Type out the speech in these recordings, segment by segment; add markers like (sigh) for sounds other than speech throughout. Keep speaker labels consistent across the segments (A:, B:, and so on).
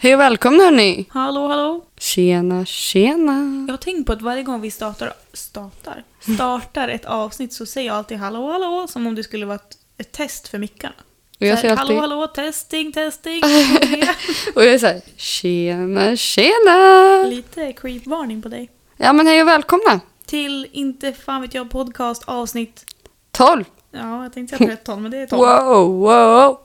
A: Hej och välkomna hörni!
B: Hallå, hallå.
A: Tjena, tjena!
B: Jag har tänkt på att varje gång vi startar, startar, startar ett avsnitt så säger jag alltid hallå, hallå som om det skulle vara ett, ett test för mickarna.
A: Och jag
B: Så här,
A: säger alltid,
B: Hallå, hallå, testing, testing.
A: (laughs) och jag är såhär, tjena, tjena!
B: Lite creep-varning på dig.
A: Ja men hej och välkomna!
B: Till, inte fan vet jag, podcast avsnitt...
A: 12!
B: Ja, jag tänkte säga 13, men det är
A: (laughs)
B: 12.
A: Wow, wow!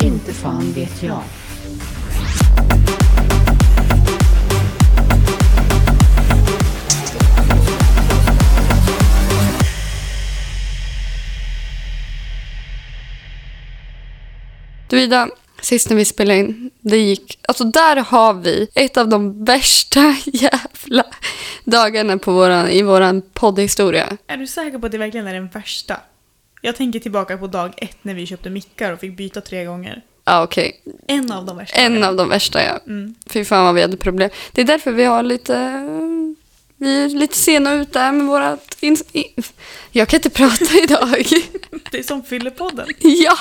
C: Inte fan vet jag.
A: Du Ida, sist när vi spelade in, det gick... Alltså där har vi ett av de värsta (laughs) jävla dagarna på våran, i våran poddhistoria.
B: Är du säker på att det verkligen är den värsta? Jag tänker tillbaka på dag ett när vi köpte mickar och fick byta tre gånger.
A: Ja okej,
B: En av de värsta.
A: en av de värsta ja.
B: Mm.
A: Fy fan vad vi hade problem. Det är därför vi har lite... eh, Vi är lite sena ute med vårat... ins- i- Jag kan inte prata (laughs) idag.
B: Det är som fyllepodden.
A: ja!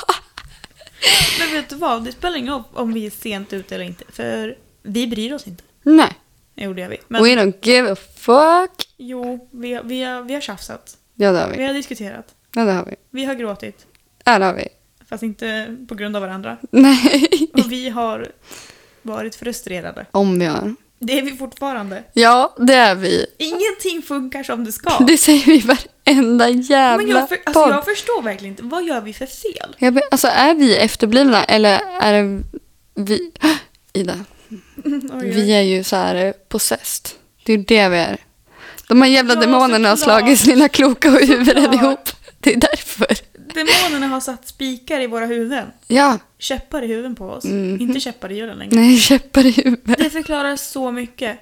B: Men vet du vad, det spelar ingen roll om vi är sent ute eller inte, för vi bryr oss inte.
A: Nej.
B: Jo, det gör vi.
A: We
B: Men
A: don't give a fuck.
B: jo, vi, har- vi, har, vi har tjafsat.
A: Ja det har
B: Vi
A: vi.
B: har diskuterat.
A: Ja det har vi.
B: Vi har gråtit.
A: Ja det har vi. (laughs)
B: Fast inte på grund av varandra.
A: Nej.
B: Och vi har varit frustrerade.
A: Om vi har.
B: Det är vi fortfarande.
A: Ja det är vi.
B: Ingenting funkar som det ska.
A: (laughs) Det säger vi i varenda jävla
B: Men jag, för, alltså,
A: podd.
B: jag förstår verkligen inte. Vad gör vi för fel?
A: (laughs) Jag be- alltså är vi efterblivna eller är det vi... (gasps) Ida,
B: Oj, oj.
A: vi är ju så här eh, possessed. Det är ju det vi är. De här jävla
B: Ja,
A: demonerna har
B: såklart.
A: slagit sina kloka huvuden
B: Såklart.
A: ihop. Det är därför.
B: Demonerna har satt spikar i våra huvuden.
A: Ja,
B: Käppar i huvuden på oss.
A: Mhm.
B: Inte käppar i hjulen längre.
A: nej, käppar i huvudet.
B: Det förklarar så mycket.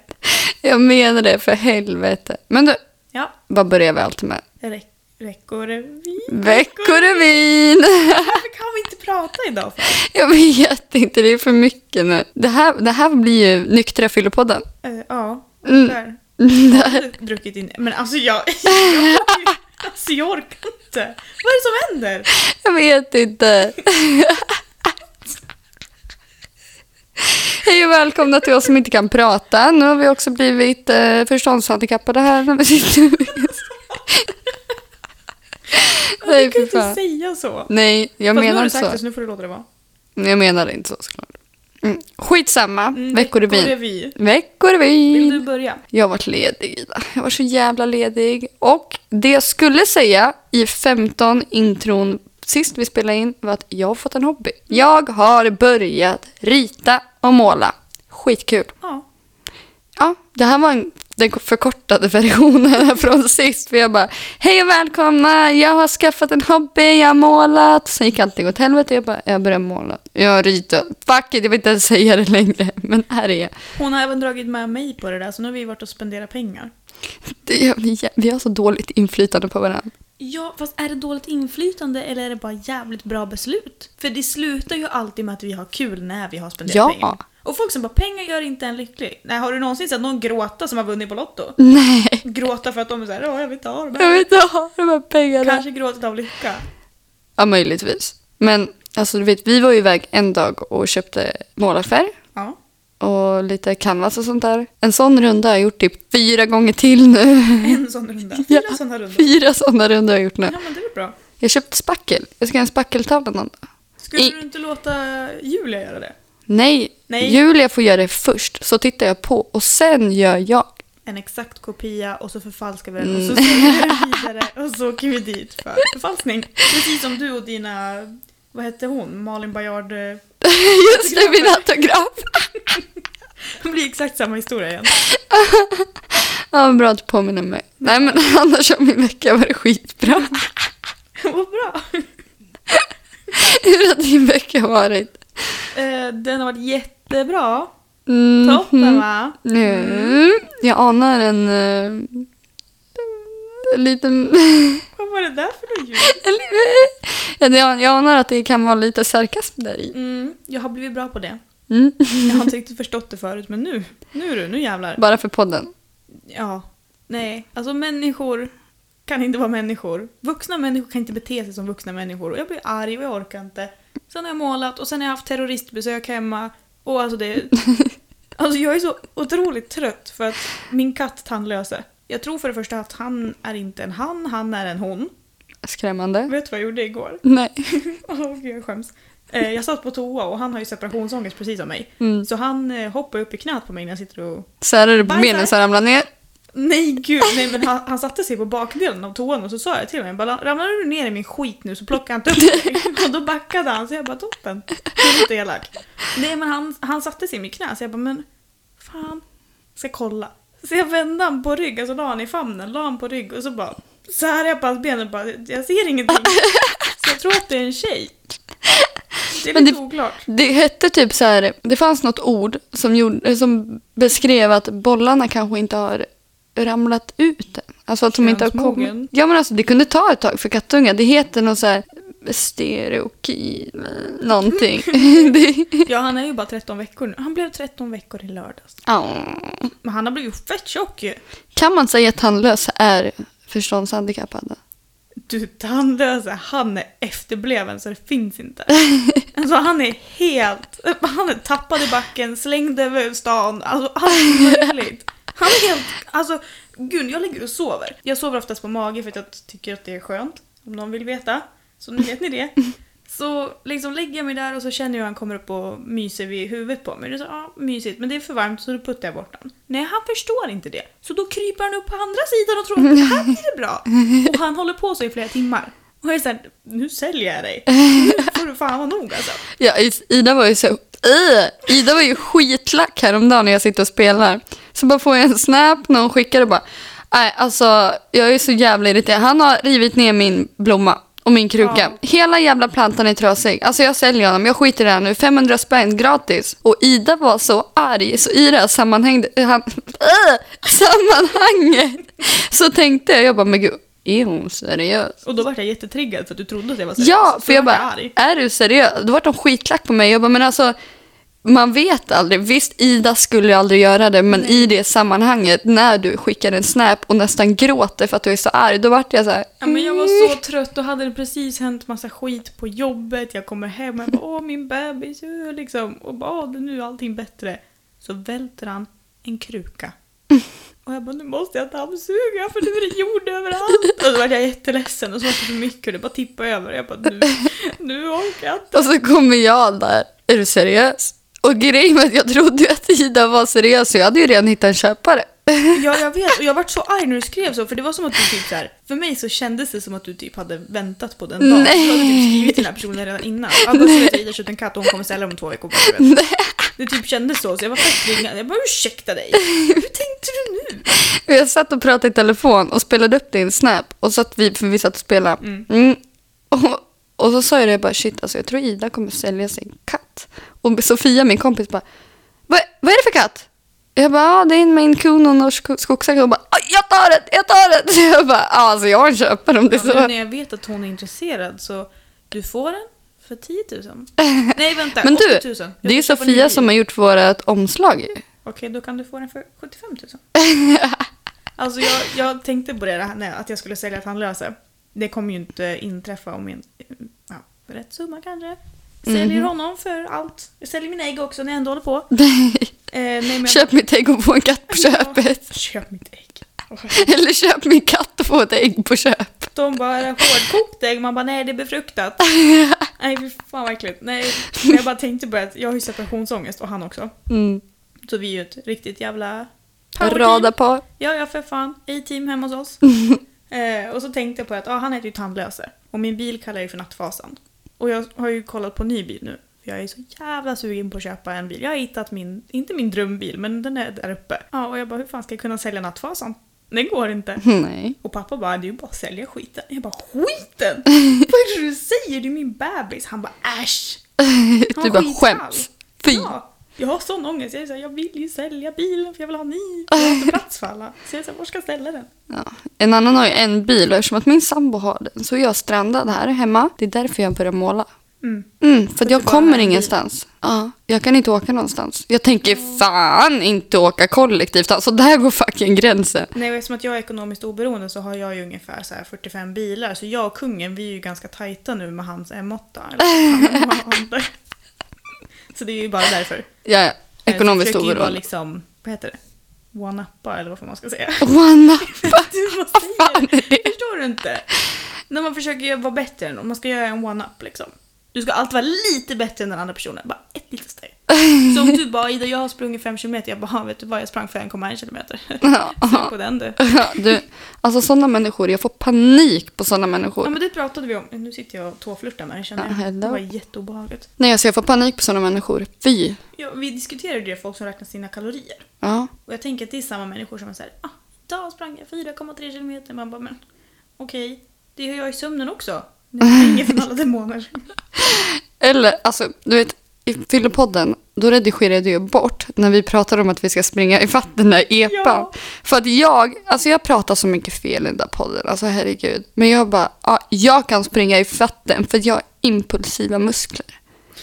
A: Jag menar det, för helvete. Men du,
B: Ja,
A: vad börjar vi alltid med?
B: Re- Veckorevyn.
A: Veckorevyn!
B: Varför kan vi inte prata idag? För?
A: Jag vet inte, det är för mycket nu. Det här, det här blir ju Nyktra Fyllopodden.
B: Eh, ja,
A: Mm.
B: där.
A: Det
B: Jag
A: här-
B: har druckit in... Men alltså jag... (laughs) jag alltså jag orkar inte. Vad är det som händer?
A: Jag vet inte. (laughs) Hej och välkomna till oss som inte kan prata. Nu har vi också blivit eh, förståndshandikappade här när vi sitter
B: (laughs)
A: Nej,
B: Jag kan
A: fy
B: inte
A: fan.
B: säga så.
A: Nej, jag
B: Fast nu har
A: menar
B: du
A: inte
B: sagt det
A: så.
B: så nu får du låta det vara.
A: Jag menar inte så såklart. Mm. Skitsamma.
B: Mm,
A: Veckorevyn.
B: Veckorevy. Vill du
A: Veckorevyn.
B: börja?
A: Jag har varit ledig, Ida. Jag var så jävla ledig. Och det jag skulle säga i 15 intron sist vi spelade in var att jag har fått en hobby. Jag har börjat rita och måla. Skitkul.
B: Ja.
A: Ja, det här var en, den förkortade (laughs) versionen från sist. För jag bara, hej och välkomna, jag har skaffat en hobby, jag har målat. Sen gick allting åt helvete, jag bara, jag börjar måla. Jag har ritat. Fuck it, jag vill inte ens säga det längre. Men här är jag.
B: Hon har även dragit med mig på det där så nu har vi varit och spenderat pengar.
A: Det är, vi- vi har så dåligt inflytande på varandra.
B: Ja, fast är det dåligt inflytande eller är det bara jävligt bra beslut? För det slutar ju alltid med att vi har kul när vi har spenderat
A: Ja.
B: pengar. Och folk som bara “pengar gör inte en lycklig”. Nej, har du någonsin sett någon gråta som har vunnit på Lotto?
A: Nej.
B: Gråta för att de är såhär “ja, jag vill inte ha de
A: Jag
B: här”.
A: vill inte ha de här pengarna.
B: Kanske gråtit av lycka.
A: Ja, möjligtvis. Men alltså, du vet, vi var ju iväg en dag och köpte målarfärg (laughs)
B: Ja.
A: och lite canvas och sånt där. En sån runda har jag gjort typ fyra gånger till nu.
B: (laughs) En sån runda. Fyra
A: Ja,
B: såna rundor.
A: Fyra såna rundor har jag gjort nu.
B: Ja, men det är väl bra.
A: Jag köpte spackel. Jag ska göra en spackeltavla någon dag.
B: Skulle
A: I-
B: du inte låta Julia göra det?
A: Nej,
B: Nej.
A: Julia får göra det först. Så tittar jag på och sen gör jag. (laughs)
B: En exakt kopia och så förfalskar vi den och så säljer vi den vidare och så åker vi dit för förfalskning. Precis som du och dina, vad hette hon, Malin Baryard. eh,
A: Just det, min autograf.
B: Det blir exakt samma historia igen. (laughs)
A: Ja, bra att du påminner mig. Nej, men annars har min vecka varit
B: (laughs)
A: skitbra.
B: Vad bra!
A: Hur har din vecka varit?
B: Eh, Den har varit jättebra.
A: Mm.
B: Toppen va?
A: Mm. Jag anar en, eh, en liten... (laughs)
B: Vad var det där för något ljud?
A: en- jag, jag anar att det kan vara lite sarkasm där i.
B: Mm, jag har blivit bra på det.
A: Mm.
B: Jag har inte riktigt förstått det förut men nu, nu du, nu jävlar.
A: Bara för podden.
B: Ja. Nej, alltså människor kan inte vara människor. Vuxna människor kan inte bete sig som vuxna människor. Och jag blir arg och jag orkar inte. Sen har jag målat och sen har jag haft terroristbesök hemma. Och alltså det... Alltså jag är så otroligt trött för att min katt Tandlöse. Jag tror för det första att han är inte en han, han är en hon.
A: Skrämmande.
B: Vet du vad jag gjorde igår? (laughs)
A: Nej.
B: Åh gud, jag skäms. Eh, jag satt på toa och han har ju separationsångest precis som mig.
A: Mm.
B: Så han eh, hoppar upp i knät på mig när jag sitter och
A: Så här är det på
B: Bajsar.
A: bilden som ramlar ner.
B: Nej gud, nej men han, han satte sig på bakdelen av toan och så sa jag till honom, bara, ramlar du ner i min skit nu så plockar jag inte upp dig. (laughs) Och då backade han så jag bara toppen. Det är lite elak. Nej men han, han satte sig i mitt knä så jag bara men fan, ska kolla. Så jag vände han på rygg, alltså la han i famnen, la han på rygg och så bara så här är jag på hans ben och bara jag ser ingenting. Så jag tror att det är en tjej. Det är
A: Men
B: lite
A: det-
B: oklart.
A: Det hette typ så här, det fanns något ord som, gjorde, som beskrev att bollarna kanske inte har ramlat ut än. Alltså att de inte har
B: Könsmogen.
A: kommit. Ja men alltså det kunde ta ett tag för kattungar. Det heter något så här stereokil, någonting. (laughs) det,
B: Ja han är ju bara 13 veckor nu. Han blev 13 veckor i lördags.
A: Åh.
B: Men han har blivit fett tjock ju.
A: Kan man säga att tandlös är förståndshandikappad?
B: Du tandlösa, han är efterbliven så det finns inte. Alltså han är helt, han är tappad i backen, slängd över stan, alltså allt möjligt. Han är helt, alltså gud jag ligger och sover. Jag sover oftast på mage för att jag tycker att det är skönt, om någon vill veta. Så nu vet ni det. Så liksom lägger jag mig där och så känner jag hur han kommer upp och myser vid huvudet på mig. Det är så, ja, mysigt, men det är för varmt så då puttar jag bort honom. Nej, han förstår inte det. Så då kryper han upp på andra sidan och tror att det här blir det bra. Och han håller på så i flera timmar. Och jag är såhär, nu säljer jag dig. Nu får du fan vara nog alltså.
A: Ja, I- Ida var ju så... Äh! Ida var ju skitlack häromdagen när jag sitter och spelar. Så bara får jag en snap när hon skickar och bara... Nej, alltså jag är så jävla irriterad. Han har rivit ner min blomma och min kruka.
B: Ja.
A: Hela jävla plantan är trasig. Alltså jag säljer honom, jag skiter i det här nu. 500 spänn gratis. Och Ida var så arg, så i det här sammanhanget, han, (laughs) äh, sammanhanget så tänkte jag, jag bara, men gud, är hon seriös?
B: Och då vart jag jättetriggad för att du trodde att Alltså, jag
A: Ja,
B: var seriös. Så
A: för
B: då
A: jag
B: vart
A: bara,
B: arg.
A: är du seriös? Då vart de skitlack på mig. Jag bara, men alltså, man vet aldrig. Visst, Ida skulle ju aldrig göra det, men i det sammanhanget när du skickar en snap och nästan gråter för att du är så arg, då vart jag så här, "Mm."
B: Ja, men jag var så trött och hade det precis hänt massa skit på jobbet. Jag kommer hem och jag bara, åh min bebis, uh, liksom. Och bara, åh det är nu är allting bättre. Så välter han en kruka. Och jag bara, nu måste jag dammsuga för nu är det jord överallt. Och då var jag jätteledsen och så var det för mycket och det bara tippade över. Och jag bara, nu, nu orkar jag inte.
A: och så kommer jag där, är du seriös? Och grejen var att jag trodde ju att Ida var seriös, så jag hade ju redan hittat en köpare.
B: Ja, jag vet. Och jag vart så arg när du skrev så, för det var som att du typ så här, För mig så kändes det som att du typ hade väntat på den dagen.
A: Nej.
B: Du hade typ skrivit till den här personen redan innan. Ja, då skulle jag köpt en katt och hon kommer ställa om två veckor bara, du vet. Det typ kändes så, så jag var fett tvingad. Jag bara ursäkta dig. Hur tänkte du nu?
A: Och Jag satt och pratade i telefon och spelade upp din snap och satt vi, för vi satt och spelade.
B: Mm.
A: Mm. Och, och så sa jag det bara, shit alltså jag tror Ida kommer sälja sin katt. Och Sofia, min kompis, bara, vad, vad är det för katt? Jag bara, ja det är en Maine Coon och en norsk ko- skogshacka. Hon bara, "Oj, jag tar det, jag tar det! (laughs) Så jag bara, ja alltså jag köper om det är
B: Ja, nu
A: så.
B: när jag vet att hon är intresserad så du får den för 10
A: (laughs)
B: 000. Nej vänta,
A: Men du,
B: 80 000. Jag
A: Det är ju
B: ska köpa en
A: Sofia
B: ny
A: som
B: bil.
A: har gjort vårt omslag ju.
B: Okej, då kan du få den för 75
A: (laughs)
B: 000. alltså jag, jag tänkte på det, här, nej, att jag skulle sälja tandlösa. Det kommer ju inte inträffa om jag... Ja, rätt summa kanske. Säljer
A: Mhm.
B: honom för allt. Jag säljer mina ägg också när jag ändå
A: (laughs)
B: håller på. Eh, nej, men jag...
A: Köp mitt ägg och få en katt på
B: Ja.
A: köpet. (laughs)
B: Köp mitt ägg.
A: Eller köp min katt och få ett ägg på köp.
B: De bara, är det hårdkokt ägg? Man bara, nej det
A: (laughs)
B: är befruktat. nej, fy fan vad äckligt. Nej, men jag bara tänkte på att jag har ju separationsångest och han också.
A: Mm.
B: Så vi är ju ett riktigt jävla... power team.
A: Rada på. (laughs)
B: Ja, ja för fan. A-team hemma hos oss. eh, och så tänkte jag på att ah, han heter ju Tandlöse. Och min bil kallar jag ju för Nattfasan. Och jag har ju kollat på ny bil nu. För jag är så jävla sugen på att köpa en bil. Jag har hittat min, inte min drömbil, men den är där uppe. Ja, och jag bara hur fan ska jag kunna sälja Nattfasan? Det går inte.
A: Nej.
B: Och pappa bara, det är ju bara att sälja skiten. Jag bara, skiten? Vad är det du säger? Det är min bebis. Han bara, äsch!
A: (laughs) Du
B: Han
A: bara
B: skitall.
A: skäms. Fy.
B: Ja, jag har sån ångest. Jag, är så här, jag vill ju sälja bilen för jag vill ha en ny. Jag har inte plats för alla. Så jag är så här, var ska jag ställa den?
A: Ja. En annan har ju en bil och eftersom att min sambo har den så är jag strandad här hemma. Det är därför jag börjar måla.
B: Mm.
A: Mm, för att
B: det
A: jag
B: bara
A: kommer
B: är en
A: ingenstans. Ja, jag kan inte åka någonstans. Jag tänker fan inte åka kollektivt. Alltså där går fucking gränsen.
B: Nej, och eftersom att jag är ekonomiskt oberoende så har jag ju ungefär så här 45 bilar. Så jag och kungen, vi är ju ganska tajta nu med hans M8. eller
A: (laughs)
B: vad han har. så det är ju bara därför.
A: Jag är
B: Jag
A: ekonomiskt
B: försöker ju bara
A: oberoende.
B: liksom, vad heter det? One-uppa eller vad fan man
A: (laughs)
B: ska säga. (laughs)
A: One up.
B: du måste säga
A: fan är det?
B: Förstår du inte? När man försöker göra- vara bättre än någon, man ska göra en one-up liksom. Du ska alltid vara lite bättre än den andra personen, bara ett litet steg.
A: (laughs)
B: Så om du bara, Ida jag har sprungit 5 km, jag bara, vet du vad, jag sprang 5,1 km. (laughs) Sug på den du.
A: Ja, (laughs) du, alltså sådana människor, jag får panik på sådana människor.
B: Ja men det pratade vi om, nu sitter jag och tåflörtar med dig
A: Ja,
B: känner jag.
A: hello.
B: Det var jätteobehagligt.
A: Nej, alltså jag får panik på sådana människor. Fy.
B: Ja, vi diskuterade ju det, folk som räknar sina kalorier.
A: Ja.
B: Och jag tänker att det är samma människor som är såhär, ah, idag sprang jag 4,3 kilometer. Man bara, men okej, det gör jag i sömnen också. Det är inget från alla demoner.
A: Eller, alltså, du vet, i Fyllepodden, då redigerade du ju bort när vi pratade om att vi ska springa i den där epan.
B: Ja.
A: För att jag, alltså jag pratar så mycket fel i den där podden, alltså herregud. Men jag bara, ja, jag kan springa i den för att jag har impulsiva muskler.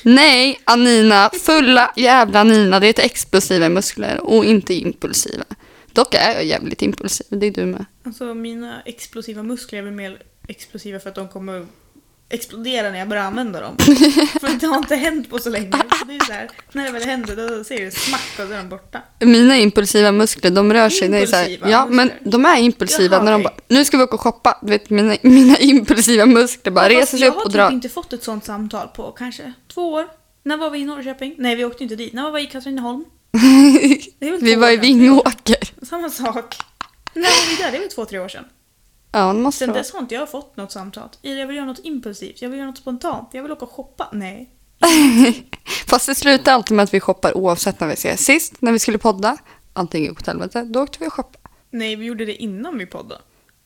A: Nej, Anina, fulla jävla Anina, det är explosiva muskler och inte impulsiva. Dock är jag jävligt impulsiv, det är du med.
B: Alltså mina explosiva muskler är väl mer explosiva för att de kommer explodera när jag börjar använda dem. för det har inte hänt på så länge. Så det är så här, när det väl händer då ser det smack och så är de borta.
A: Mina impulsiva muskler, de rör sig. när Det är så här,
B: Impulsiva
A: ja, men
B: muskler.
A: de är impulsiva.
B: Jaha,
A: när de
B: okej.
A: bara, nu ska vi åka och shoppa. Du vet, mina, (laughs) mina impulsiva muskler bara reser
B: Fast
A: sig
B: jag
A: upp
B: har
A: och
B: typ
A: drar.
B: inte fått ett sånt samtal på kanske två år. När var vi i Norrköping? Nej vi åkte inte dit. När var vi i Katrineholm? (laughs) Det är
A: (laughs)
B: väl
A: vi
B: två
A: var i
B: år sedan.
A: Vingåker.
B: Samma sak. När var vi där? Det är väl två, tre år sedan.
A: Ja, det måste det
B: Sen
A: vara.
B: dess har inte jag fått något samtal. Ida, Jag vill göra något impulsivt, jag vill göra något spontant, jag vill åka och shoppa. Nej.
A: (laughs) Fast det slutar alltid med att vi shoppar oavsett när vi ses. Sist, när vi skulle podda, antingen gick åt helvete, då åkte vi och shoppade.
B: Nej, vi gjorde det innan vi poddade.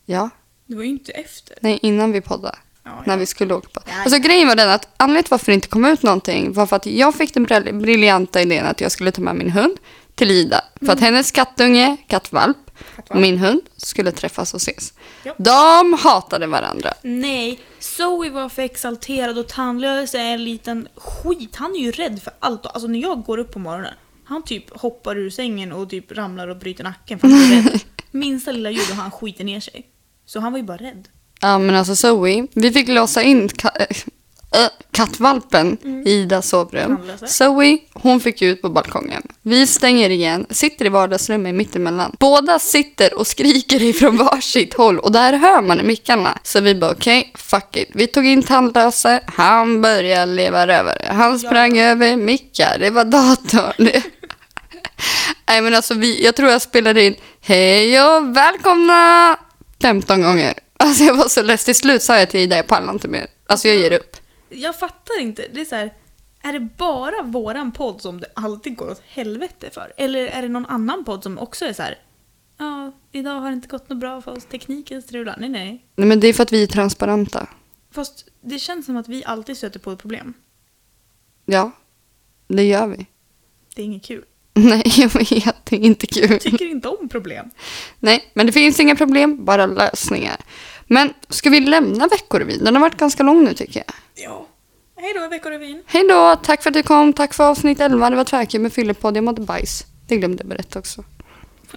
A: Ja,
B: Det var ju inte efter.
A: nej, innan vi poddade.
B: Ja,
A: När
B: ja.
A: vi skulle åka på.
B: Ja,
A: Alltså grejen var den att anledningen till varför det inte kom ut någonting var för att jag fick den brill- briljanta idén att jag skulle ta med min hund till Ida. För att hennes kattunge, kattvalp, och
B: Mm. Kattvalp.
A: min hund skulle träffas och ses.
B: Ja.
A: De hatade varandra.
B: Nej, Zoe var för exalterad och tandlös är en liten skit. Han är ju rädd för allt. Alltså när jag går upp på morgonen, han typ hoppar ur sängen och typ ramlar och bryter nacken för att han är rädd. Minsta lilla ljud och han skiter ner sig. Så han var ju bara rädd.
A: Ja men alltså Zoe, vi fick låsa in ka- äh, äh, kattvalpen i Idas sovrum.
B: Mm. Tandlösa.
A: Zoe, hon fick ut på balkongen. Vi stänger igen, sitter i vardagsrummet mittemellan. Båda sitter och skriker ifrån varsitt håll och där hör man i mickarna. Så vi bara okej, fuck it. Vi tog in tandlöse, han började leva rövare. Han sprang över mickar, det var datorn. (laughs) Nej men alltså vi, jag tror jag spelade in Hej och välkomna 15 gånger. Alltså jag var så less. Till slut sa jag till Ida, jag pallar inte mer. Alltså jag ger upp.
B: Jag fattar inte. Det är så här, är det bara våran podd som det alltid går åt helvete för? Eller är det någon annan podd som också är så här, ja, idag har det inte gått något bra för oss, tekniken strular. Nej, nej.
A: Nej men det är för att vi är transparenta.
B: Fast det känns som att vi alltid stöter på ett problem.
A: Ja, det gör vi.
B: Det är inget kul.
A: (laughs) Nej jag vet, det är inte kul.
B: Tycker inte om problem.
A: Nej, men det finns inga problem, bara lösningar. Men ska vi lämna veckorevyn? Den har varit ganska lång nu tycker jag.
B: Ja. Hej då, Veckorevyn.
A: Hej då, tack för att du kom, tack för avsnitt 11. Det var tvärkul med fyllepodd, jag mådde bajs. Det glömde jag berätta också.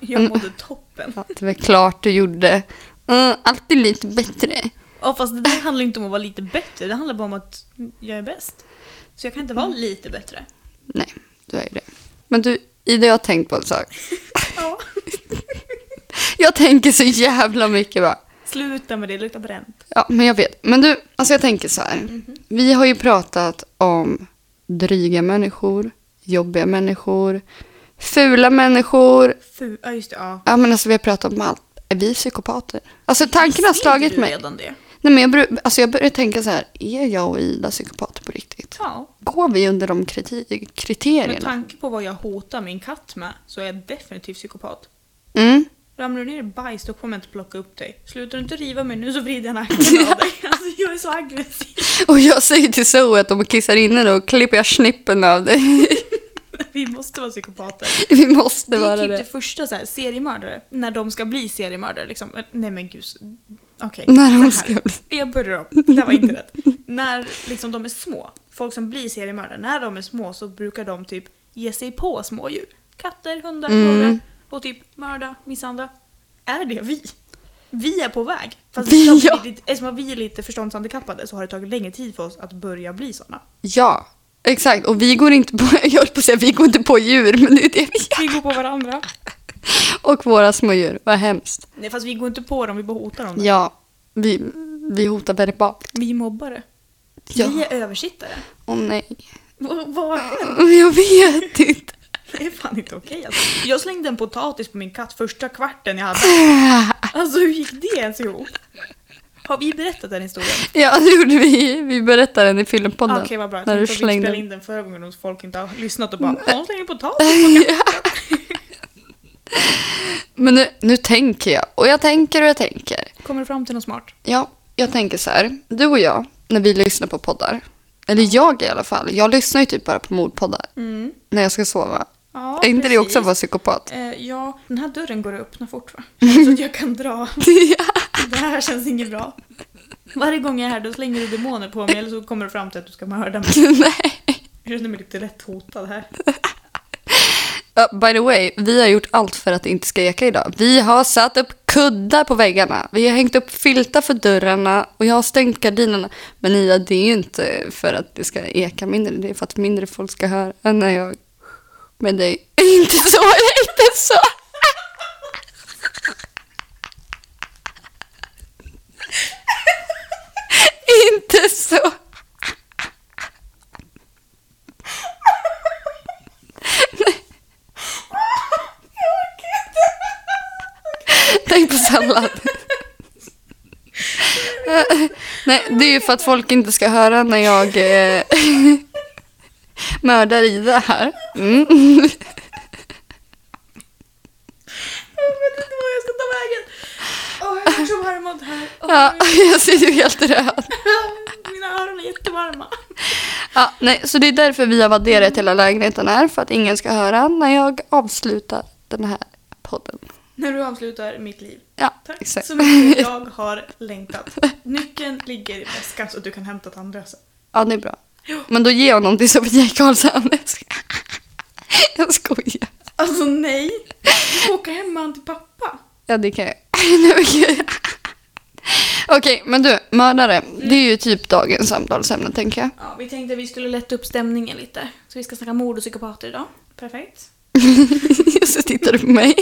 B: Jag mådde toppen.
A: Ja, det var klart du gjorde. Mm, alltid lite bättre.
B: Ja, fast det där handlar inte om att vara lite bättre. Det handlar bara om att jag är bäst. Så jag kan inte vara lite bättre.
A: Nej, du är ju det. Men du, Ida, jag har tänkt på en sak.
B: Ja.
A: Jag tänker så jävla mycket va.
B: Sluta med det, det luktar bränt.
A: Ja, men jag vet. Men du, alltså jag tänker så här.
B: Mhm.
A: Vi har ju pratat om dryga människor, jobbiga människor, fula människor.
B: Fu, ja just det, ja.
A: Ja, men alltså vi har pratat om allt. Är vi psykopater? Alltså tanken har
B: Ser
A: slagit
B: du
A: mig.
B: redan det?
A: Nej, men jag, bru- alltså, jag börjar tänka så här. Är jag och Ida psykopater på riktigt?
B: Ja.
A: Går vi under de kriti- kriterierna?
B: Med tanke på vad jag hotar min katt med så är jag definitivt psykopat.
A: Mm.
B: Ramlar du ner i bajs då kommer jag inte plocka upp dig. Slutar du inte riva mig nu så vrider jag nacken av dig. Alltså jag är så aggressiv.
A: Och jag säger till Zoe att om hon kissar inne då klipper jag snippen av dig. (laughs)
B: Vi måste vara psykopater.
A: Vi måste
B: Det är
A: vara
B: typ det
A: det.
B: första så här, seriemördare, när de ska bli seriemördare liksom. Eh, Nej men gud. s- Okej.
A: När de
B: så
A: ska
B: här. Jag börjar om. Det här var inte rätt. När liksom de är små folk som blir seriemördare, när de är små så brukar de typ ge sig på smådjur. Katter, hundar,
A: Mm.
B: fåglar. Och typ mörda, misshandla. Är det vi? Vi är på väg. Fast
A: Vi,
B: vi, har
A: ja.
B: blivit, eftersom att vi är lite förståndshandikappade så har det tagit längre tid för oss att börja bli sådana.
A: Ja, exakt. Och vi går inte på, (laughs) jag höll på att säga, vi går inte på djur, men det är det vi gör.
B: Vi går på varandra.
A: Och våra små djur, vad hemskt.
B: Nej fast vi går inte på dem, vi bara hotar dem.
A: Ja, vi, vi hotar verbalt.
B: Vi är mobbare.
A: Ja.
B: Vi är översittare.
A: Åh nej. (laughs)
B: V- vad är det?
A: Jag vet inte.
B: Det är fan inte okej alltså. Jag slängde en potatis på min katt första kvarten jag hade. Alltså hur gick det ens ihop? Har vi berättat den historien?
A: Ja, det gjorde vi. Vi berättade den i
B: Ah,
A: filmpodden.
B: Okej vad bra, jag
A: när
B: tänkte
A: du
B: att vi spelade
A: slängde
B: in den förra gången och folk inte har lyssnat och bara “Hon slänger potatis på katten”.
A: Men nu, nu tänker jag. Och jag tänker och jag tänker.
B: Kommer du fram till något smart?
A: Ja, jag tänker så här. Du och jag, när vi lyssnar på poddar. Eller jag i alla fall. Jag lyssnar ju typ bara på mordpoddar.
B: Mm.
A: När jag ska sova.
B: Ja,
A: är inte det
B: precis.
A: också att vara
B: (laughs)
A: psykopat? (laughs)
B: Eh, ja, den här dörren går att öppna fort va? (laughs) Så att jag kan dra. Det här känns inget bra. Varje gång jag är här då slänger du demoner på mig eller så kommer du fram till att du ska mörda mig.
A: Nej.
B: Jag känner mig lite lätt hotad här.
A: Ja, Uh, by the way, vi har gjort allt för att det inte ska eka idag. Vi har satt upp kuddar på väggarna. Vi har hängt upp filtar för dörrarna och jag har stängt gardinerna. Men Ida, det är ju inte för att det ska eka mindre. Det är för att mindre folk ska höra när jag... Men det är (laughs) inte så, det är inte så. (laughs) inte så. Tänk på sallad. Nej, det är ju för att folk inte ska höra när jag eh, mördar Ida här. Mm.
B: Jag vet inte vad jag ska ta vägen. Åh, jag är så varm av det här. Åh,
A: Ja, jag ser ju helt röd.
B: Mina öron är jättevarma.
A: Ja, nej, så det är därför vi har vadderat hela lägenheten här, för att ingen ska höra när jag avslutar den här podden.
B: När du avslutar mitt liv.
A: Ja,
B: Tack
A: exakt.
B: så mycket, jag har längtat. Nyckeln ligger i väskan så att du kan hämta tandlösen.
A: Ja, det är bra. Men då ger jag honom till Sofia Karlshamn. Jag skojar.
B: Alltså nej! Du får åka hem med han till pappa.
A: Ja, det kan jag. (laughs) Nej, men gud. Okej, men du, mördare. Det är ju typ dagens samtalsämne, tänker jag. (laughs)
B: Ja, vi tänkte att vi skulle lätta upp stämningen lite. Så vi ska snacka mord och psykopater idag. Perfekt. (laughs)
A: Så tittar du på mig.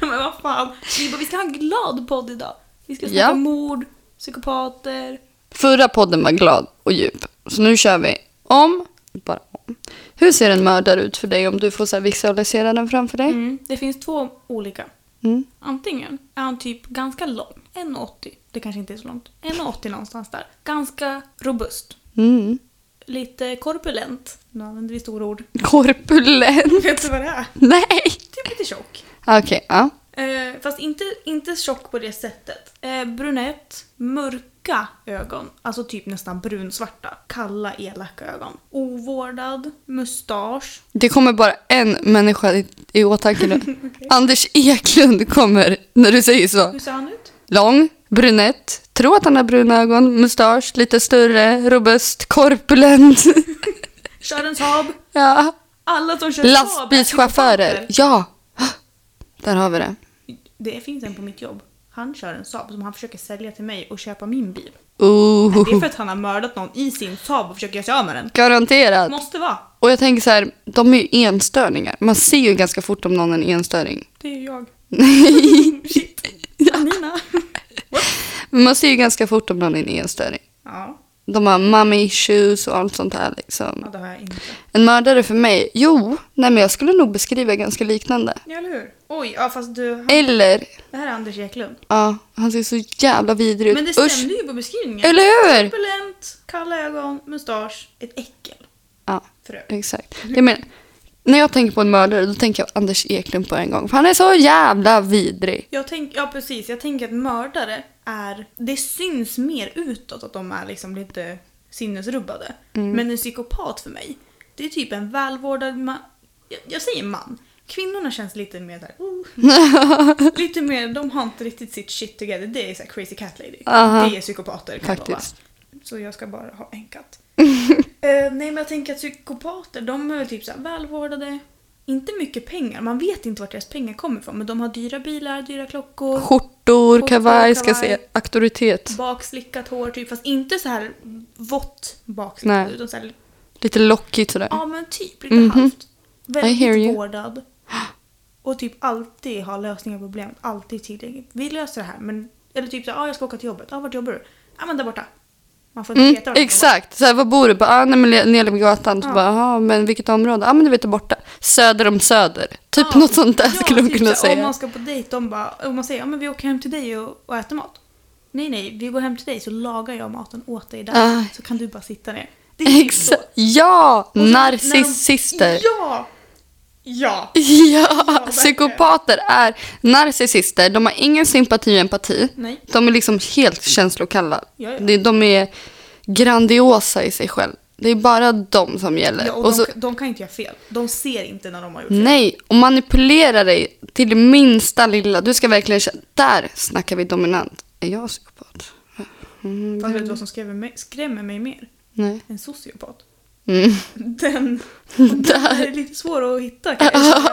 B: Men vad fan. Vi, bara, vi ska ha en glad podd idag. Vi ska snacka
A: Ja.
B: mord, psykopater.
A: Förra podden var glad och djup, så nu kör vi om, bara om. Hur ser en mördare ut för dig om du får så här visualisera den framför dig?
B: Mm. Det finns två olika.
A: Mm.
B: Antingen är han typ ganska lång, 1,80. Det kanske inte är så långt. 1,80 någonstans där. Ganska robust.
A: Mm.
B: Lite korpulent. Nu använder vi stora ord.
A: Korpulent? (laughs)
B: (laughs) Vet du vad det är?
A: Nej!
B: Typ lite tjock.
A: Okej, ja.
B: Eh, fast inte, inte tjock på det sättet. Eh, brunett, mörka ögon. Alltså typ nästan brunsvarta. Kalla, elaka ögon. Ovårdad, mustasch.
A: Det kommer bara en människa i, i åtanke nu. Anders Eklund kommer när du säger så.
B: Hur ser han ut?
A: Lång, brunett, tror att han har bruna ögon, mustasch, lite större, robust, korpulent. (laughs)
B: Kör en Saab.
A: ja.
B: Alla som kör Saab är
A: Lastbilschaufförer.
B: psykopater.
A: Ja. (gasps) Där har vi det.
B: Det finns en på mitt jobb. Han kör en Saab som han försöker sälja till mig och köpa min bil. Det är
A: Oh.
B: för att han har mördat någon i sin Saab och försöker göra sig av med den.
A: (laughs) Garanterat.
B: Måste vara.
A: Och jag tänker så här, de är ju enstöringar. Man ser ju ganska fort om någon är en enstöring.
B: Det
A: (laughs)
B: är jag.
A: Nej.
B: Shit. Amina.
A: Men man ser ju ganska fort om någon är en enstöring.
B: Ja,
A: De har mommy issues och allt sånt här
B: ja,
A: liksom.
B: det har jag inte.
A: En mördare för mig? Jo, nej men jag skulle nog beskriva ganska liknande.
B: Ja, eller hur? Oj, ja fast du...
A: Eller,
B: Det här är Anders Eklund.
A: ja, han ser så jävla vidrig ut.
B: Men det
A: Usch.
B: stämde ju på beskrivningen.
A: Eller hur?
B: Korpulent, kalla ögon, mustasch, ett äckel.
A: Ja,
B: För övrigt.
A: exakt. Jag menar, när jag tänker på en mördare då tänker jag Anders Eklund på en gång. För han är så jävla vidrig.
B: Jag tänk, ja precis, jag tänker att mördare är... Det syns mer utåt att de är liksom lite sinnesrubbade. Men en psykopat för mig, det är typ en välvårdad man. Jag, jag säger man. Kvinnorna känns lite mer där, oh. Lite mer, de har inte riktigt sitt shit together. Det är så här crazy cat lady.
A: Aha.
B: Det är psykopater kan jag lova.
A: Faktiskt. (laughs)
B: Så jag ska bara ha en katt. Eh, Eh, nej men jag tänker att psykopater, de är väl typ så här välvårdade. Inte mycket pengar, man vet inte vart deras pengar kommer ifrån. Men de har dyra bilar, dyra klockor,
A: Skjortor, kavaj, ska se
B: kavaj.
A: auktoritet.
B: bakslickat hår typ. Fast inte så här vått bakslickat.
A: Nej.
B: Utan så här,
A: Lite lockigt sådär.
B: ja men typ lite
A: Mhm.
B: halvt.
A: hear you.
B: Väldigt vårdad. Och typ alltid har lösningar på problemet, alltid tillgängligt. Vi löser det här men, eller typ så här, ah, jag ska åka till jobbet, ah, vart jobbar du? Ja ah, men där borta. Man får inte
A: Mm,
B: veta vart man jobbar.
A: exakt, så här, var bor du? Bara, ah, nej, men le- nere vid gatan. Så
B: Ja.
A: bara, ah, men vilket område? Ja, ah, men du vet där borta. Söder om söder. Typ något sånt där skulle hon
B: typ
A: kunna
B: så här,
A: säga.
B: Om man ska på dejt, de bara, om man säger ja men vi åker hem till dig och, och äter mat. Nej nej, vi går hem till dig så lagar jag maten åt dig där.
A: Ah.
B: Så kan du bara sitta ner. Det är typ så. Och
A: Exakt. Ja,
B: så
A: narcissister.
B: när de- Ja! Ja!
A: Ja,
B: verkligen.
A: psykopater är narcissister. De har ingen sympati och empati.
B: Nej.
A: De är liksom helt känslokalla.
B: Ja, ja.
A: De- De är grandiosa i sig själv. Det är bara de som gäller.
B: ja och
A: Och så-
B: de, de kan inte göra fel. De ser inte när de har gjort fel.
A: Nej, och manipulera dig till det minsta lilla. Du ska verkligen känna, där snackar vi dominant. Är jag psykopat? Mm,
B: Fast vet du
A: det-
B: vad som skrämmer mig, skrämmer mig mer?
A: Nej.
B: En sociopat.
A: Mm. (laughs)
B: Den, den är lite svår att hitta kanske.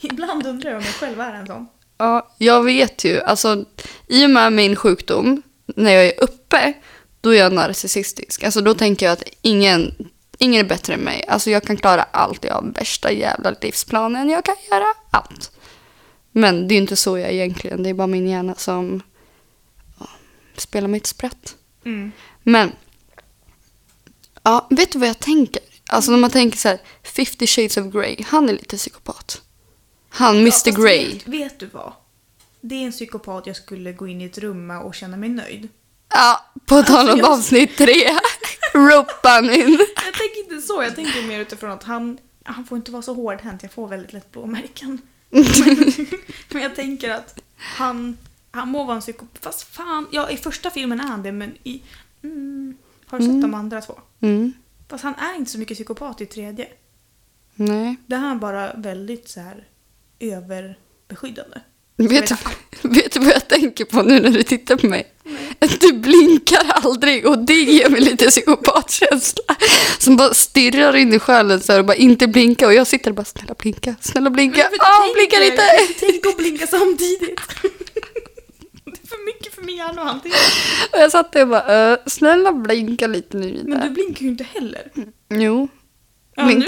B: Ibland undrar jag om jag själv är en sån.
A: Ja, jag vet ju. Alltså, I och med min sjukdom, när jag är uppe, då är jag narcissistisk. Alltså, då tänker jag att ingen, ingen är bättre än mig. Alltså, jag kan klara allt. Jag har värsta jävla livsplanen. Jag kan göra allt. Men det är ju inte så jag är egentligen. Det är bara min hjärna som ja, spelar mitt spratt.
B: Mm.
A: Men, ja, vet du vad jag tänker? Alltså när man tänker så här, 50 shades of Grey, han är lite psykopat. Han, Mr
B: Ja, fast
A: Grey.
B: Vet, vet du vad? Det är en psykopat jag skulle gå in i ett rum med och känna mig nöjd.
A: Ja, på
B: Alltså,
A: tal om avsnitt
B: (laughs)
A: tre. Ropan in.
B: Jag tänker inte så, jag tänker mer utifrån att han, han får inte vara så hårdhänt, jag får väldigt lätt blåmärken. Mm, men jag tänker att han, han må vara en psykopat. Fast fan, ja i första filmen är han det men i... Mm, har du sett de andra två?
A: Mm,
B: Fast han är inte så mycket psykopat i tredje.
A: nej.
B: Där är han bara väldigt så här överbeskyddande.
A: Vet du, vet du vad jag tänker på nu när du tittar på mig? Att du blinkar aldrig och det ger mig lite psykopatkänsla. Som bara stirrar in i själen så här och bara inte blinka och jag sitter och bara snälla blinka, snälla blinka.
B: Men jag vet
A: Ah,
B: tänker-
A: blinkar inte!
B: Tänk och blinka samtidigt.
A: (laughs)
B: Det är för mycket för min hjärna att hantera.
A: Och jag satt där och bara "Eh, snälla blinka lite nu
B: Men du
A: Ida.
B: blinkar ju inte heller.
A: Jo.
B: Ja,
A: Blink.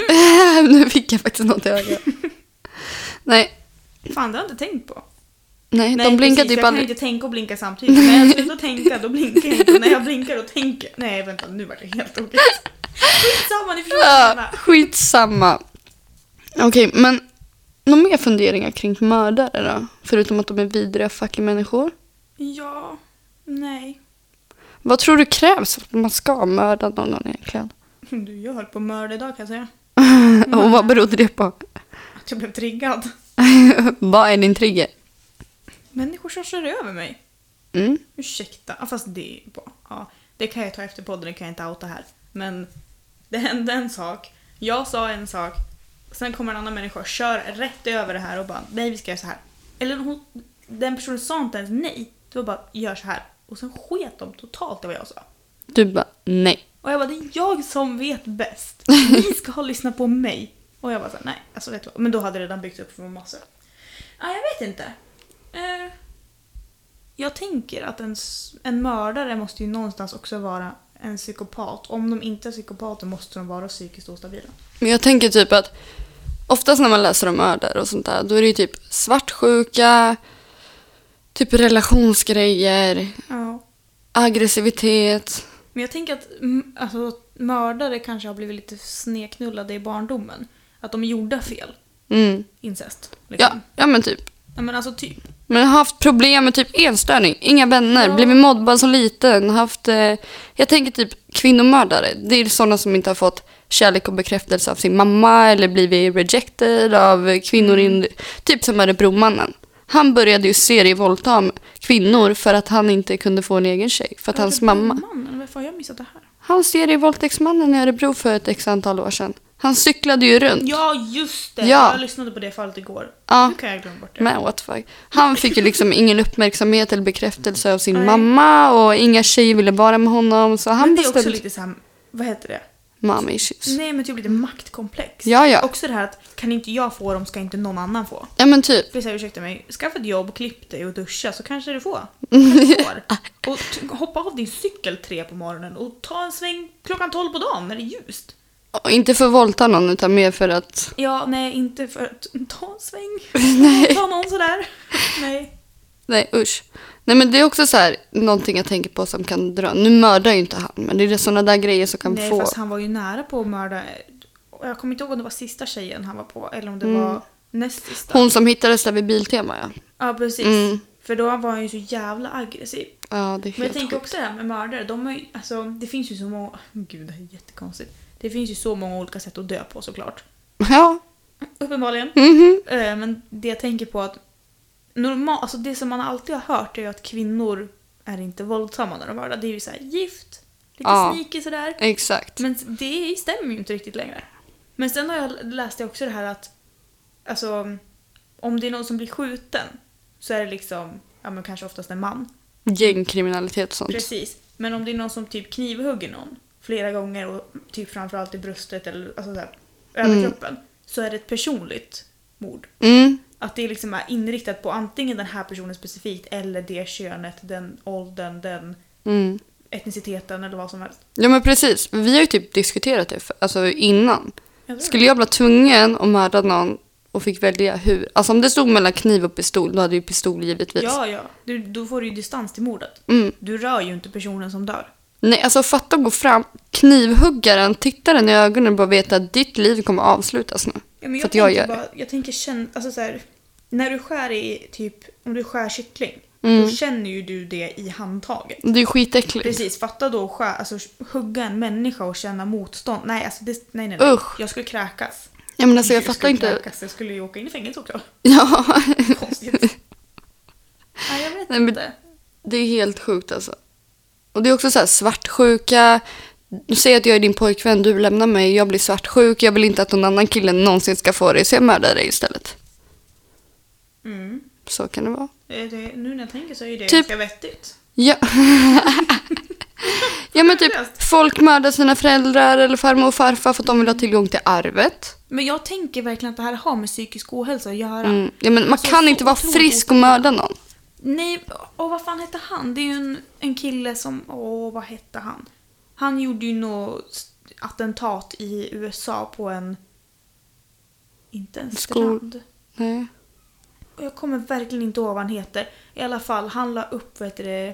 A: (laughs)
B: nu.
A: nu fick jag faktiskt något i
B: (laughs)
A: ögat. nej,
B: Fan, det har jag inte tänkt på.
A: nej, de blinkar
B: precis,
A: typ
B: jag kan ju
A: aldrig.
B: inte tänka och blinka samtidigt. När jag slutar tänka då blinkar jag inte. Och När jag blinkar då tänker jag. Nej vänta, nu var det helt okej. Skitsamma, ni förstår vad jag
A: Ja,
B: menar.
A: skitsamma. Okej, men några mer funderingar kring mördare då? Förutom att de är vidriga fucking människor.
B: Ja, nej.
A: Vad tror du krävs för att man ska mörda någon egentligen?
B: Du, jag höll på att mörda idag kan jag säga.
A: (laughs) Och vad berodde det på?
B: Att jag blev triggad.
A: (laughs) vad är din trigger?
B: Människor som kör över mig.
A: Mm.
B: Ursäkta, ja, fast det är bra. Ja, det kan jag ta efter podden, det kan jag inte outa här. Men det hände en sak, jag sa en sak, sen kommer en annan människa och kör rätt över det här och bara nej vi ska göra så här. Eller hon, den personen sa inte ens nej, det var bara gör så här. Och sen sket de totalt i vad jag sa.
A: Du bara, nej.
B: Och jag bara det är jag som vet
A: (laughs)
B: bäst, ni ska ha lyssnat på mig. Och jag bara så här, nej, alltså vet du vad, men då hade det redan byggt upp för massor. Ja, jag vet inte. Eh, jag tänker att en, s- en mördare måste ju någonstans också vara en psykopat. Om de inte är psykopater måste de vara psykiskt ostabila.
A: Men jag tänker typ att oftast när man läser om mördare och sånt där, då är det ju typ svartsjuka, typ relationsgrejer,
B: Ja.
A: aggressivitet.
B: Men jag tänker att mm, alltså, mördare kanske har blivit lite sneknullade i barndomen. Att de gjorde fel.
A: Mm.
B: Incest.
A: Ja,
B: Liksom.
A: ja, men typ.
B: ja. Men alltså typ.
A: Men jag har haft problem med typ elstörning, inga vänner,
B: Ja.
A: blivit mobbad som liten, haft... Eh, jag tänker typ kvinnomördare. Det är sådana som inte har fått kärlek och bekräftelse av sin mamma eller blivit rejected av kvinnor. In, typ som Örebromannen. Han började ju serievåldta kvinnor för att han inte kunde få en egen tjej, för att hans
B: Mm.
A: mamma...
B: typ Mannen, varför har jag missat det här?
A: Han serievåldtäktsmannen i Örebro för ett x antal år sedan. Han cyklade ju runt.
B: Ja, just det!
A: Ja.
B: Jag lyssnade på det fallet igår.
A: Ja.
B: Nu kan jag glömma bort det.
A: Men what the fuck. Han fick ju liksom ingen uppmärksamhet eller bekräftelse av sin
B: Nej.
A: mamma och inga tjejer ville vara med honom. Så han
B: Men det är också
A: bestämde...
B: lite såhär, vad heter det?
A: Mom issues.
B: Nej men typ lite maktkomplex.
A: Ja, ja.
B: Också det här att kan inte jag få dem ska inte någon annan få.
A: Ja men typ. (laughs)
B: Det är så här, ursäkta mig, skaffa ett jobb, klipp dig och duscha så kanske du får. Kanske
A: (laughs)
B: du får. Och t- hoppa av din cykel tre på morgonen och ta en sväng klockan tolv på dagen när det är ljust.
A: Och inte för att våldta någon utan mer för att...
B: Ja, nej inte för att ta en sväng.
A: (laughs) Nej.
B: Ta någon sådär. Nej.
A: Nej usch. Nej men det är också så här, någonting jag tänker på som kan dra. Nu mördar ju inte han men det är sådana där grejer som kan
B: Nej,
A: få.
B: fast han var ju nära på att mörda. och Jag kommer inte ihåg om det var sista tjejen han var på eller om det
A: Mm.
B: var näst sista.
A: Hon som hittades där vid Biltema ja.
B: Ja, precis.
A: Mm.
B: För då var han ju så jävla aggressiv.
A: Ja det är helt
B: Men jag tänker
A: sjukt.
B: också det här med mördare. De har ju, alltså, det finns ju så många... (laughs) Gud, det här är jättekonstigt. Det finns ju så många olika sätt att dö på såklart. (laughs)
A: Ja.
B: Uppenbarligen.
A: Mhm.
B: Eh, Men det jag tänker på att... Normal, alltså det som man alltid har hört är ju att kvinnor är inte våldsamma när de mördar. Det är ju så här gift, lite
A: Ja.
B: sneaky sådär.
A: Exakt.
B: Men det stämmer ju inte riktigt längre. Men sen har jag läst jag också det här att alltså, om det är någon som blir skjuten så är det liksom, ja men kanske oftast en man.
A: Gängkriminalitet och sånt.
B: Precis. Men om det är någon som typ knivhugger någon flera gånger och typ framförallt i bröstet eller alltså så här, över kroppen så är det ett personligt mord.
A: Mm.
B: Att det liksom är inriktat på antingen den här personen specifikt eller det könet, den åldern, den
A: Mm.
B: etniciteten eller vad som helst.
A: Ja men precis. Vi har ju typ diskuterat det för, alltså innan.
B: Jag tror
A: Skulle jag bli tvungen att mörda någon och fick välja hur? Alltså om det stod mellan kniv och pistol då hade ju pistol givetvis.
B: Ja, ja. Du, då får du ju distans till mordet.
A: Mm.
B: Du rör ju inte personen som dör.
A: Nej, alltså fatta att gå fram, knivhuggaren, titta den i ögonen och bara veta att ditt liv kommer avslutas nu.
B: Ja, men
A: för att jag
B: tänker
A: gör det.
B: bara, Jag tänker känna, alltså så här, när du skär i typ, om du skär kyckling,
A: Mm.
B: då känner ju du det i handtaget.
A: Det är ju skitäckligt.
B: Precis, fatta då att skär, alltså, hugga en människa och känna motstånd. Nej, alltså det, nej, nej, nej.
A: Usch.
B: Jag skulle kräkas.
A: Ja, men alltså jag fattar
B: skulle
A: inte.
B: Kräkas. Jag skulle ju åka in i fängelse också.
A: (laughs) Ja,
B: Konstigt. nej, jag vet
A: Nej, men-
B: inte.
A: det är helt sjukt alltså. Och det är också så här svartsjuka. Säg att jag är din pojkvän, du lämnar mig, jag blir svartsjuk, jag vill inte att någon annan kille någonsin ska få dig, så jag mördar dig istället.
B: Mm.
A: Så kan det vara.
B: Eh, Det, nu när jag tänker så är ju det
A: Typ-
B: ganska vettigt.
A: Ja. (laughs) ja men typ folk mördar sina föräldrar eller farmor och farfar för att de vill ha tillgång till arvet.
B: Men jag tänker verkligen att det här har med psykisk ohälsa att göra.
A: Mm. Ja, men man
B: Alltså,
A: kan
B: så
A: inte vara
B: otroligt
A: frisk och mörda någon.
B: Nej, och vad fan hette han? Det är ju en, en kille som, åh vad hette han? Han gjorde ju något attentat i USA på en, inte en
A: Skol-
B: strand.
A: Nej.
B: Och Jag kommer verkligen inte ihåg vad han heter. I alla fall, han la upp vad heter det,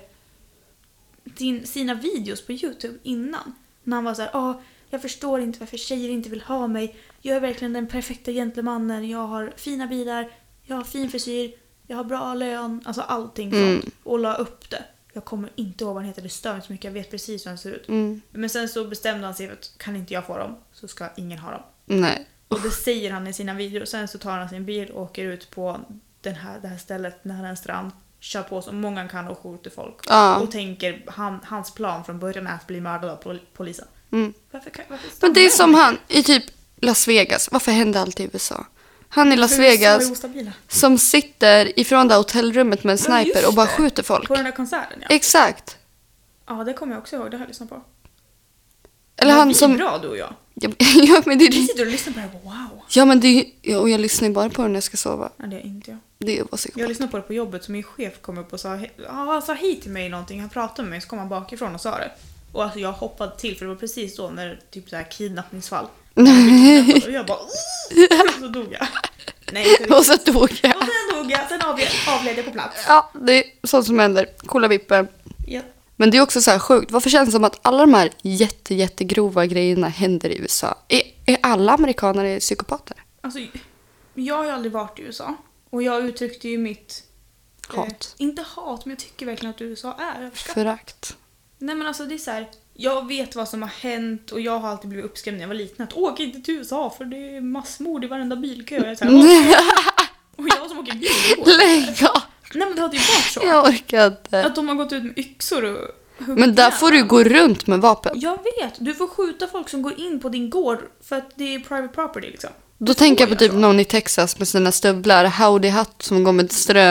B: sin, sina videos på Youtube innan. När han var så här, ah, jag förstår inte varför tjejer inte vill ha mig. Jag är verkligen den perfekta gentlemannen. Jag har fina bilar, jag har fin frisyr, jag har bra lön. Alltså allting
A: Mm.
B: sånt. Och la upp det. Jag kommer inte ihåg vad han heter, det stör mig så mycket. Jag vet precis hur han ser ut.
A: Mm.
B: Men sen så bestämde han sig för att kan inte jag få dem så ska ingen ha dem.
A: Nej.
B: Och det säger han i sina videor. Sen så tar han sin bil och åker ut på den här, det här stället nära en strand. Kör på så många han kan och skjuter folk.
A: Ja.
B: Och tänker, han, hans plan från början är att bli mördad av pol- polisen.
A: Mm.
B: Varför, kan- varför
A: Men det är som
B: stannar
A: han i typ Las Vegas. Varför händer allt i USA? Han i Las
B: För USA är
A: Vegas
B: ostabila.
A: som sitter ifrån det här hotellrummet med en
B: Ja, just
A: sniper och bara
B: det.
A: skjuter folk.
B: På den där konserten ja.
A: Exakt.
B: Ja det kommer jag också ihåg, det har jag lyssnat på.
A: Eller
B: Men
A: han
B: vi är
A: som...
B: bra du och jag.
A: Ja, ja, men det
B: Vi
A: är...
B: sitter och lyssnar på det här wow.
A: Ja, men det är... ja, och jag lyssnar ju bara på den när jag ska sova.
B: Nej det är inte jag.
A: Det är bara så
B: Jag lyssnade på det på jobbet så min chef kom upp och sa, "He- ja, han sa hej till mig någonting, han pratade med mig så kom han bakifrån och sa det. Och alltså jag hoppade till för det var precis då när typ så
A: (laughs)
B: här kidnappningsfall. Jag blev kidnappad och jag bara "Åh!" Så dog jag. Nej,
A: (laughs)
B: inte riktigt.
A: Och så dog jag.
B: och sen dog jag, sen avle- avled jag på plats.
A: Ja, det är sånt som händer. Coola vippen.
B: Ja.
A: Men det är också så här sjukt. Varför känns det som att alla de här jätte, jättegrova grejerna händer i USA? Är, är alla amerikaner psykopater?
B: Alltså, jag har ju aldrig varit i USA och jag uttryckte ju mitt... eh,
A: Hat.
B: inte hat, men jag tycker verkligen att USA är överskattat.
A: Förakt. (laughs)
B: Nej men alltså det är så här. Jag vet vad som har hänt och jag har alltid blivit uppskrämd när jag var liten. Att åk inte till USA för det är massmord i varenda bilkö. Och jag, är så här, "Åh."
A: (laughs)
B: och jag som åker bil. går.
A: Lägg av!
B: Nej men det hade ju varit så.
A: Jag orkar inte.
B: Att de har gått ut med yxor och huggit
A: Men där
B: ner.
A: får du gå runt med vapen.
B: Jag vet, du får skjuta folk som går in på din gård för att det är private property liksom.
A: Då tänker jag på
B: Oj,
A: typ någon i Texas med sina stövlar, howdy hatt som går med strö,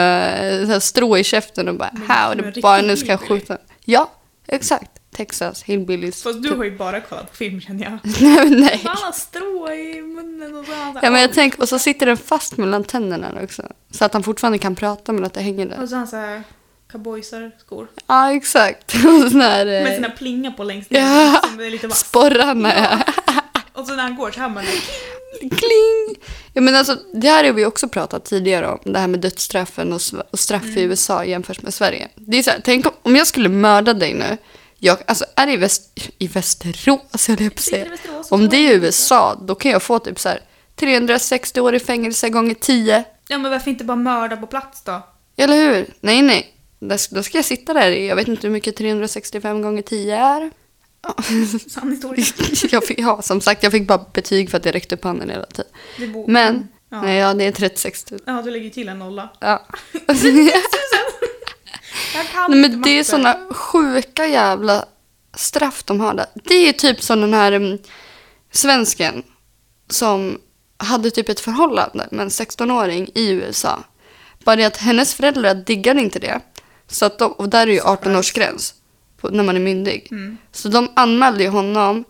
A: så här strå i käften och bara
B: Men det är som en
A: howdy
B: riktig
A: bara nu ska jag
B: hillbilly."
A: skjuta. Ja, exakt. Texas Hillbillies.
B: Fast du har ju bara kollat på film känner jag.
A: (laughs) nej, men nej.
B: Han har strå i munnen och så. har han så här-
A: Ja, men jag tänker, och så sitter den fast mellan tänderna också. Så att han fortfarande kan prata men att det hänger där.
B: Och så har han såhär cowboysar, skor.
A: Ja, exakt. (laughs) Och sån här
B: Med
A: eh,
B: sina plingor på längst ner.
A: Ja.
B: Som är lite vass.
A: sporrarna. Ja.
B: Och så när han går så hör man det.
A: Kling! Ja, men alltså, det här har vi också pratat tidigare om, det här med dödsstraffen och, sv- och straff
B: Mm.
A: i USA jämfört med Sverige. Det är så här, tänk om, om jag skulle mörda dig nu, jag, alltså är det i, väst, i Västerås, höll jag på att
B: Typ Sitter i
A: säga.
B: Västerås och
A: Om det är i
B: kollar.
A: USA, då kan jag få typ så här 360 år i fängelse gånger 10.
B: Ja men varför inte bara mörda på plats då?
A: Eller hur? Nej, nej. Där s- Då ska jag sitta där i, jag vet inte hur mycket 365 gånger 10 är. Ja. (laughs)
B: Sann historia.
A: Jag fick, ja, som sagt, jag fick bara betyg för att jag räckte upp handen hela tiden.
B: Det bor-
A: Men,
B: Ja.
A: nej, ja, det är 36 000.
B: Ja, du lägger ju till en nolla.
A: Ja. (laughs)
B: Jag kan
A: Nej,
B: inte
A: men det är
B: matte.
A: såna sjuka jävla straff de har där. Det är typ som den här mm, svensken som hade typ ett förhållande med en 16-åring i USA. Bara det att hennes föräldrar diggade inte det. Så att de, och där är ju 18-årsgräns på- när man är myndig.
B: Mm.
A: Så de anmälde ju honom.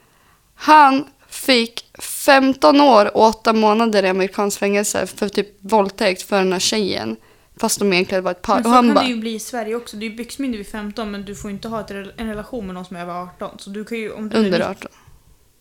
A: Han fick 15 år och 8 månader i amerikansk fängelse för typ våldtäkt för den här tjejen. Fast de egentligen var ett par.
B: Men så
A: och han
B: kan
A: bara,
B: det ju bli i Sverige också. Du är ju byxmyndig vid 15 men du får inte ha ett, rel- en relation med någon som är över 18. Så du kan ju... Om du
A: Under
B: är,
A: 18.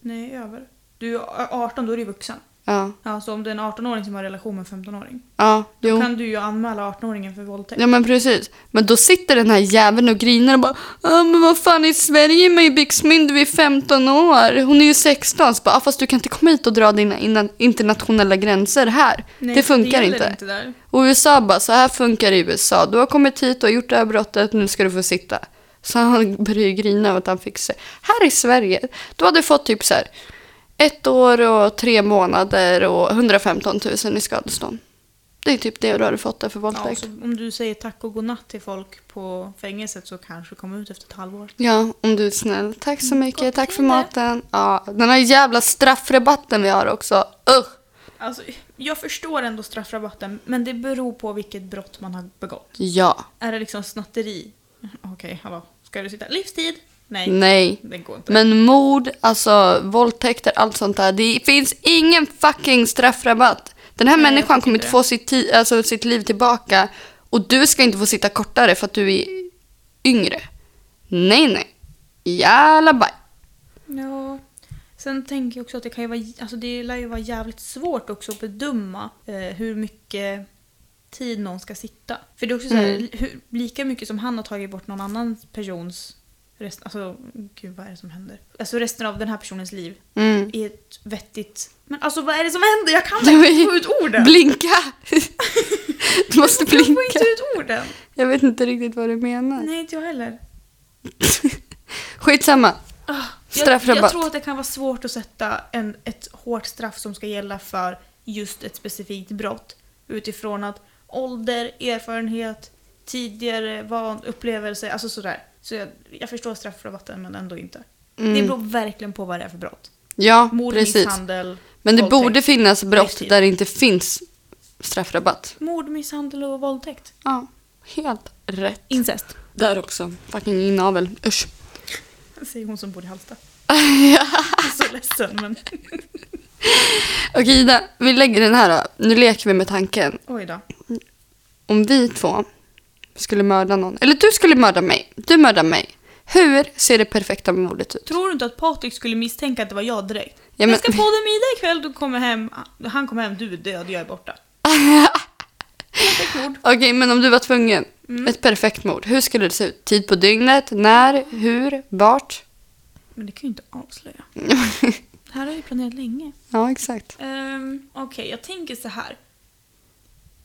B: Nej, över. Du är 18 då är du vuxen.
A: Ja.
B: Ja, så om det är en 18-åring som har relation med en 15-åring.
A: Ja,
B: Då
A: jo.
B: kan du ju anmäla 18-åringen för våldtäkt.
A: Ja men precis. Men då sitter den här jäveln och grinar och bara ah, men vad fan i Sverige är man ju byxmyndig vid 15 år. Hon är ju 16. Så bara, ah, fast du kan inte komma hit och dra dina inna- internationella gränser här.
B: Nej,
A: det funkar
B: det gäller
A: inte.
B: inte där.
A: Och USA bara så här funkar det i USA. Du har kommit hit och gjort det här brottet. Nu ska du få sitta. Så han (laughs) började ju grina över att han fick se. Här i Sverige, då hade du fått typ så här ett år och tre månader och 115 000 i skadestånd. Det är typ det du hade fått där för
B: Ja,
A: våldtäkt.
B: så om du säger tack och godnatt till folk på fängelset så kanske du kommer ut efter ett halvår.
A: Ja, om du är snäll. Tack så mycket.
B: Mm, gott
A: Tack för
B: vin där.
A: maten. Ja, den här jävla straffrabatten vi har också. Usch!
B: Alltså, jag förstår ändå straffrabatten men det beror på vilket brott man har begått.
A: Ja.
B: Är det liksom snatteri? Okej, hallå. Ska du sitta livstid? Nej,
A: Nej.
B: det går inte.
A: Men mord, alltså våldtäkter, allt sånt där. Det finns ingen fucking straffrabatt. Den här
B: Nej, jag
A: människan
B: tycker
A: kommer
B: det.
A: inte få sitt, ti- alltså, sitt liv tillbaka. Och du ska inte få sitta kortare för att du är yngre. Nej, nej. Jävla baj.
B: Ja. Sen tänker jag också att det kan ju vara, alltså det lär ju vara jävligt svårt också att bedöma eh, hur mycket tid någon ska sitta. För det är också så här,
A: Mm.
B: hur, lika mycket som han har tagit bort någon annan persons rest, alltså gud vad är det som händer? Alltså resten av den här personens liv
A: Mm.
B: är ett vettigt... Men alltså vad är det som händer? Jag
A: (laughs)
B: kan inte få ut orden!
A: Blinka!
B: (laughs)
A: Du måste
B: Jag får
A: blinka.
B: inte ut orden!
A: Jag vet inte riktigt vad du menar.
B: Nej, inte jag heller.
A: Skitsamma.
B: Ah, Jag,
A: Straffrabatt.
B: jag tror att det kan vara svårt att sätta en, ett hårt straff som ska gälla för just ett specifikt brott. Utifrån att ålder, erfarenhet, tidigare van, upplevelse, alltså sådär. Så jag, jag förstår straffrabatten men ändå inte. Det beror verkligen på vad det är för brott.
A: Ja,
B: Mord,
A: Mm. precis.
B: misshandel,
A: Men det
B: våldtäkt.
A: borde finnas brott
B: Livstid.
A: där det inte finns straffrabatt.
B: Mord, misshandel och våldtäkt.
A: Ja, helt rätt.
B: Incest.
A: Där också. Fucking inavel. Usch.
B: (laughs) Säger hon som bor i Halsta. Jag är så ledsen men
A: (laughs)
B: (laughs)
A: Okej Ida, vi lägger den här då. Nu leker vi med tanken.
B: oj då.
A: Om vi två skulle mörda någon. Eller du skulle mörda mig. Du mördar mig. Hur ser det perfekta mordet ut?
B: Tror du inte att Patrik skulle misstänka att det var jag direkt?
A: Ja, men-
B: Jag ska podda middag ikväll, du kommer hem, han kommer hem, du är död, jag är
A: (laughs)
B: borta. Perfekt mord.
A: Okej, men om du var tvungen. Ett perfekt mord. Hur skulle det se ut? Tid på dygnet? När? Hur? Vart?
B: Men det kan ju inte
A: (laughs)
B: avslöja. Det här har jag ju planerat länge.
A: ja, exakt.
B: Ehm, Okej, jag tänker så här.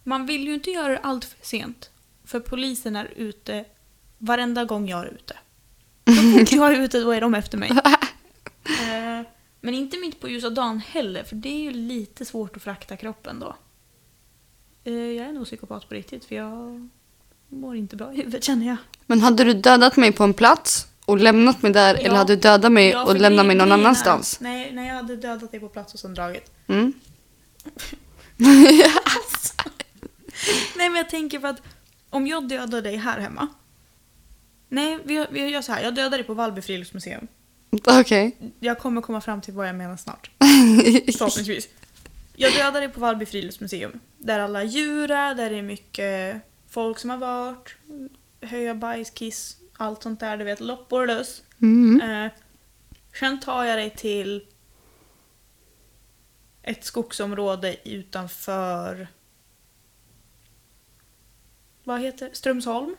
B: Man vill ju inte göra det allt för sent. För polisen är ute varenda gång jag är ute. Så fort jag är ute då är de
A: (laughs)
B: efter mig. Ehm, men inte mitt på ljusa dagen heller, för det är ju lite svårt att frakta kroppen då. Ehm, jag är nog psykopat på riktigt, för jag mår inte bra i huvudet känner jag.
A: Men hade du dödat mig på en plats och lämnat mig där? Eller
B: Ja.
A: hade du dödat mig
B: Ja,
A: Eh, och
B: för
A: lämnat
B: gre-
A: mig någon
B: grejen är-
A: annanstans?
B: Nej, nej, jag hade dödat dig på plats och sen dragit.
A: Mm.
B: Nej men jag tänker för att om jag dödar dig här hemma Nej, vi, vi gör så här. Jag dödar dig på Valby friluftsmuseum.
A: (laughs) Okej. Mm.
B: Jag kommer komma fram till vad jag menar snart. Förhoppningsvis. Jag dödar dig på Valby friluftsmuseum. Där alla djur är, där det är mycket folk som har varit. Höja, bajs, kiss, allt sånt där. Du vet, loppor och löss.
A: Mm.
B: Eh, sen tar jag dig till ett skogsområde utanför... Vad heter det? Strömsholm.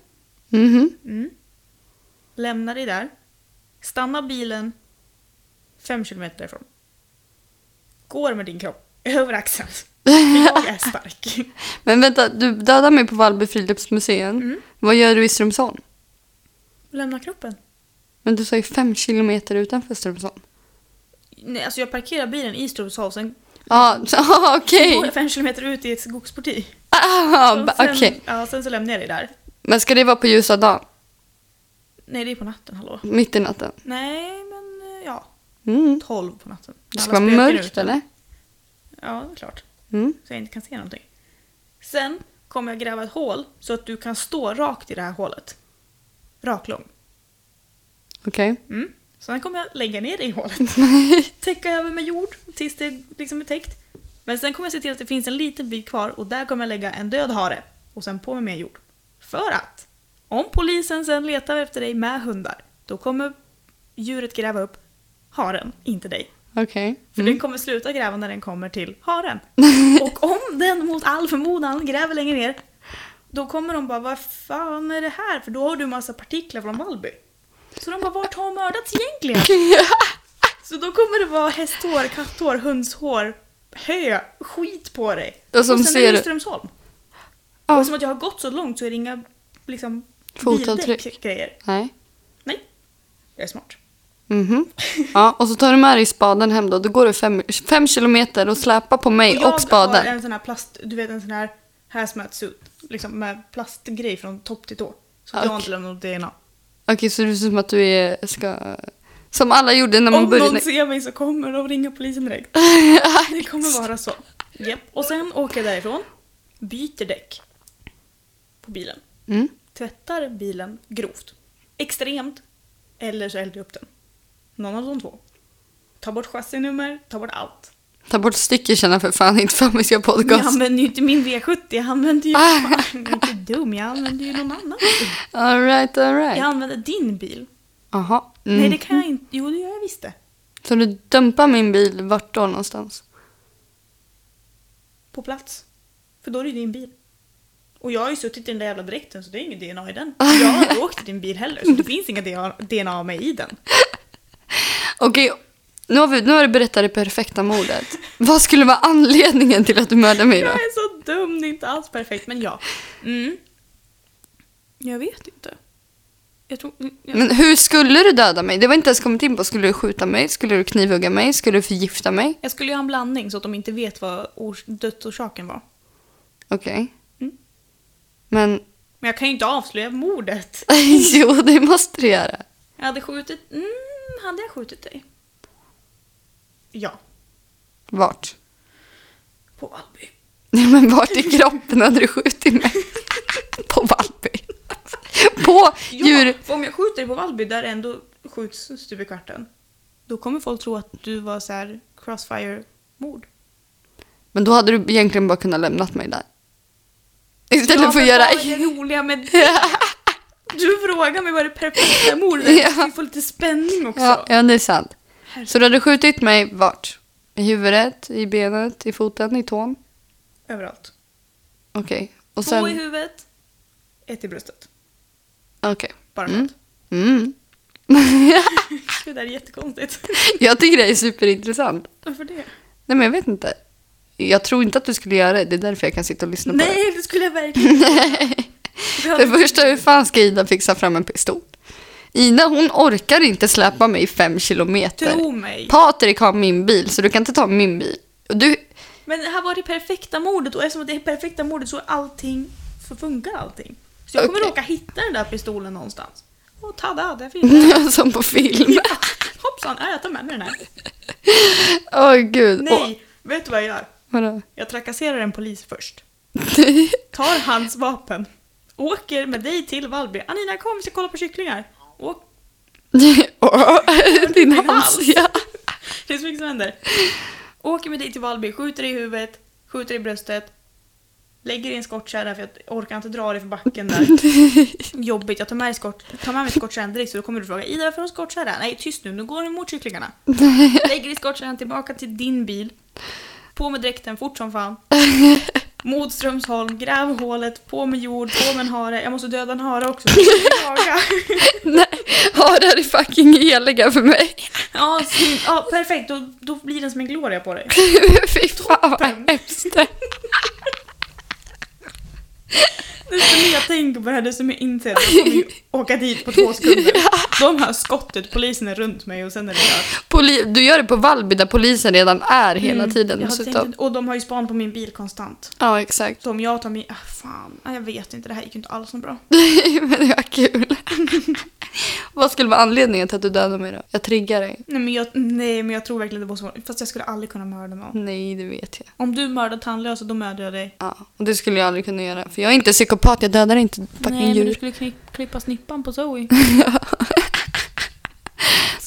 A: Mhm.
B: Mm. Lämnar dig där. Stannar bilen fem kilometer därifrån. Går med din kropp (laughs) över axeln. Jag
A: (laughs)
B: är stark.
A: Men vänta, du dödar mig på Valby friluftsmuseum.
B: Mm.
A: Vad gör du i Strömsholm?
B: Lämnar kroppen.
A: Men du sa ju fem kilometer utanför Strömsholm.
B: Nej, alltså jag parkerar bilen i Strömsholm, sen
A: Ja, (laughs) ah, okej.
B: går jag fem kilometer ut i ett skogsparti.
A: Ah,
B: Och
A: ba-
B: sen,
A: Okej.
B: ja, sen så lämnar jag dig där.
A: Men ska det vara på ljusa dagen?
B: Nej, det är på natten, hallå.
A: Mitt i natten?
B: Nej, men eh, ja.
A: Mm.
B: Tolv på natten.
A: Det ska
B: Alla
A: vara
B: spöken är
A: mörkt
B: ute.
A: eller?
B: Ja, det är klart.
A: Mm.
B: Så jag inte kan se någonting. Sen kommer jag gräva ett hål så att du kan stå rakt i det här hålet. Raklång.
A: Okej. (laughs)
B: Mm. Sen kommer jag lägga ner dig i hålet. (laughs) Täcka över med jord tills det liksom är täckt. Men sen kommer jag se till att det finns en liten bit kvar och där kommer jag lägga en död hare. Och sen på med mer jord. För att om polisen sen letar efter dig med hundar, då kommer djuret gräva upp haren, inte dig.
A: Okej. Mm.
B: För den kommer sluta gräva när den kommer till
A: (laughs)
B: haren. (laughs) Och om den mot all förmodan gräver längre ner, då kommer de bara vad fan är det här? För då har du massa partiklar från Valby. Så de bara vart har mördats egentligen? Så då kommer det vara hästhår, katthår, hundshår, hö, skit på dig.
A: Och som
B: sen är det
A: ser-
B: Strömsholm.
A: Ja.
B: Och som att jag har gått så långt så är det inga liksom,
A: Fotavtryck.
B: bildäck grejer.
A: Nej.
B: Nej, jag är smart.
A: Mhm. Ja, och så tar du med dig spaden hem då. Då går du fem, fem kilometer och släpar på mig och,
B: jag har
A: spaden.
B: en sån här plast, du vet en sån här hazmat suit, liksom med plastgrej från topp till tå. Så att jag har inte
A: Okej.
B: lämnat något DNA.
A: Okej, så det ser ut som att du är, ska... Som alla gjorde när man
B: Om
A: började...
B: någon ser mig så kommer de ringa polisen direkt. Det kommer vara så. Japp. Och sen åker jag därifrån, byter däck på bilen.
A: (laughs) Mm.
B: Tvättar bilen grovt. Extremt. Eller så eldar jag upp den. Någon av de två. Ta bort chassinummer, ta bort allt.
A: Ta bort styckekärnan för fan, inte för att vi ska
B: Men jag
A: podcast.
B: använder ju inte min V70, jag använder ju...
A: Ah.
B: Fan, jag är inte dum, jag använder ju någon annan.
A: Alright, alright.
B: Jag använder din bil.
A: Aha. Mm.
B: Nej, det kan jag inte. Jo, det gör jag visst det.
A: Så du dumpar min bil vart då någonstans?
B: På plats. För då är det ju din bil. Och jag har ju suttit i den där jävla dräkten så det är inget DNA i den. Jag har inte åkt i din bil heller så det finns inga DNA DNA av mig i den.
A: Okej, nu har, vi, nu har du berättat det perfekta
B: (laughs)
A: mordet. Vad skulle vara anledningen till att du mördade mig
B: Jag
A: då?
B: är så dum, det är inte alls perfekt men ja. Mm. Jag vet inte. Jag tror... mm, Jag,
A: Men hur skulle du döda mig? Det var inte ens kommit in på. Skulle du skjuta mig? Skulle du knivhugga mig? Skulle du förgifta mig?
B: jag skulle göra en blandning så att de inte vet vad ors- dödsorsaken var.
A: Okej.
B: Mm.
A: Men, (laughs)
B: Men jag kan ju inte avslöja mordet.
A: jo det måste du göra.
B: Jag hade skjutit... Mm, hade jag skjutit dig? Ja.
A: Vart?
B: På Valby.
A: Nej, men vart i kroppen hade du skjutit mig? (laughs) på Valby. på
B: Ja,
A: djur...
B: för om jag skjuter dig på Valby där det ändå skjuts stup i kvarten. Då kommer folk tro att du var så här
A: (laughs)
B: crossfire-mord.
A: Men då hade du egentligen bara kunnat lämnat mig där. Istället för att
B: men
A: göra...
B: Vad är det
A: (laughs)
B: roliga med det? Du frågar mig vad det perfekta mordet är.
A: (laughs) Ja.
B: Jag ska få lite spänning också.
A: Ja, ja, det är sant.
B: Herregud.
A: Så du hade skjutit mig vart? I huvudet, i benet, i foten, i tån?
B: Överallt.
A: Okej. Och
B: Två i
A: sen...
B: huvudet, ett i bröstet.
A: Okej.
B: Bara
A: Mm.
B: skönt. (laughs)
A: Mm. (laughs)
B: Det där är jättekonstigt. (laughs)
A: Jag tycker det är superintressant.
B: Varför det?
A: Nej, men jag vet inte. Jag tror inte att du skulle göra det. Det är därför jag kan sitta och lyssna på det.
B: Nej, det skulle jag
A: (laughs)
B: verkligen inte
A: För
B: göra.
A: det första, hur fan ska Ida fixa fram en pistol? Ida, hon orkar inte släpa mig fem kilometer.
B: Tro mig.
A: Patrik har min bil, så du kan inte ta min bil. Och Du, (laughs)
B: Men det här var det perfekta mordet och eftersom det är perfekta mordet så är allting, så funkar allting. Så jag kommer
A: Okej.
B: råka hitta den där pistolen någonstans. Och tada, där
A: (laughs)
B: finns den.
A: som på film.
B: Ja, Hoppsan, ja, jag tar med mig den här.
A: Åh gud. Åh,
B: Nej, vet du vad jag gör?
A: vadå? (laughs)
B: Jag trakasserar en polis först. Tar hans vapen åker med dig till Valby. Anina kom vi ska kolla på kycklingar. Åk.
A: Åh, (laughs) Din
B: Min hals.
A: hals, ja.
B: Det är så mycket som händer. Åker med dig till Valby, skjuter dig i huvudet, skjuter dig i bröstet. Lägger i en skottkärra för jag orkar inte dra dig för backen där. Jobbigt, jag tar med, dig skott, tar med mig skottkärran direkt så då kommer du fråga Ida varför har du skottkärra? Nej tyst nu, nu går du mot kycklingarna. Lägger i skottkärran tillbaka till din bil. På med dräkten fort som fan. Mot Strömsholm, gräv hålet, på med jord, på med en hare. Jag måste döda en hare också. så jag kan jaga.
A: Nej, harar är fucking heliga för mig. (laughs)
B: Ja, syn- ja perfekt, då, då blir den som en gloria på dig.
A: Fy fan vad hemskt.
B: Desto mer jag tänker på det här desto mer inser jag att
A: (laughs)
B: jag kommer ju åka dit på två sekunder. De här skottet, polisen är runt mig och sen är det jag.
A: Poli- du gör det på Valby där polisen redan är hela tiden
B: Mm. jag har
A: dessutom.
B: tänkt, och de har ju span på min bil konstant.
A: Ja, exakt. (laughs)
B: Så om jag tar min... Ah, fan, ah, jag vet inte, det här gick ju inte alls så bra.
A: Men det var kul. (laughs) Vad skulle vara anledningen till att du dödade mig då? Jag triggar dig.
B: Nej men jag, nej, men jag tror verkligen det var så. Fast jag skulle aldrig kunna mörda någon.
A: Nej, det vet jag.
B: Om du mördar tandlösa då mördar jag dig.
A: Ja, och det skulle jag aldrig kunna göra. För jag är inte psykopat, jag dödar inte fucking
B: nej, men du
A: djur.
B: skulle kni- klippa snippan
A: (laughs)
B: på Zoe.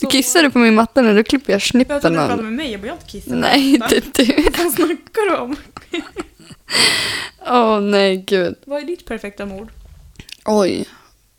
A: Du kissar du på min matta nu, då klipper jag
B: Jag trodde
A: snippen
B: du
A: av
B: pratade med mig, jag bara jag har inte kissat.
A: Nej, inte du.
B: Vad snackar du om?
A: Åh nej, gud.
B: Vad är ditt perfekta mord?
A: Oj.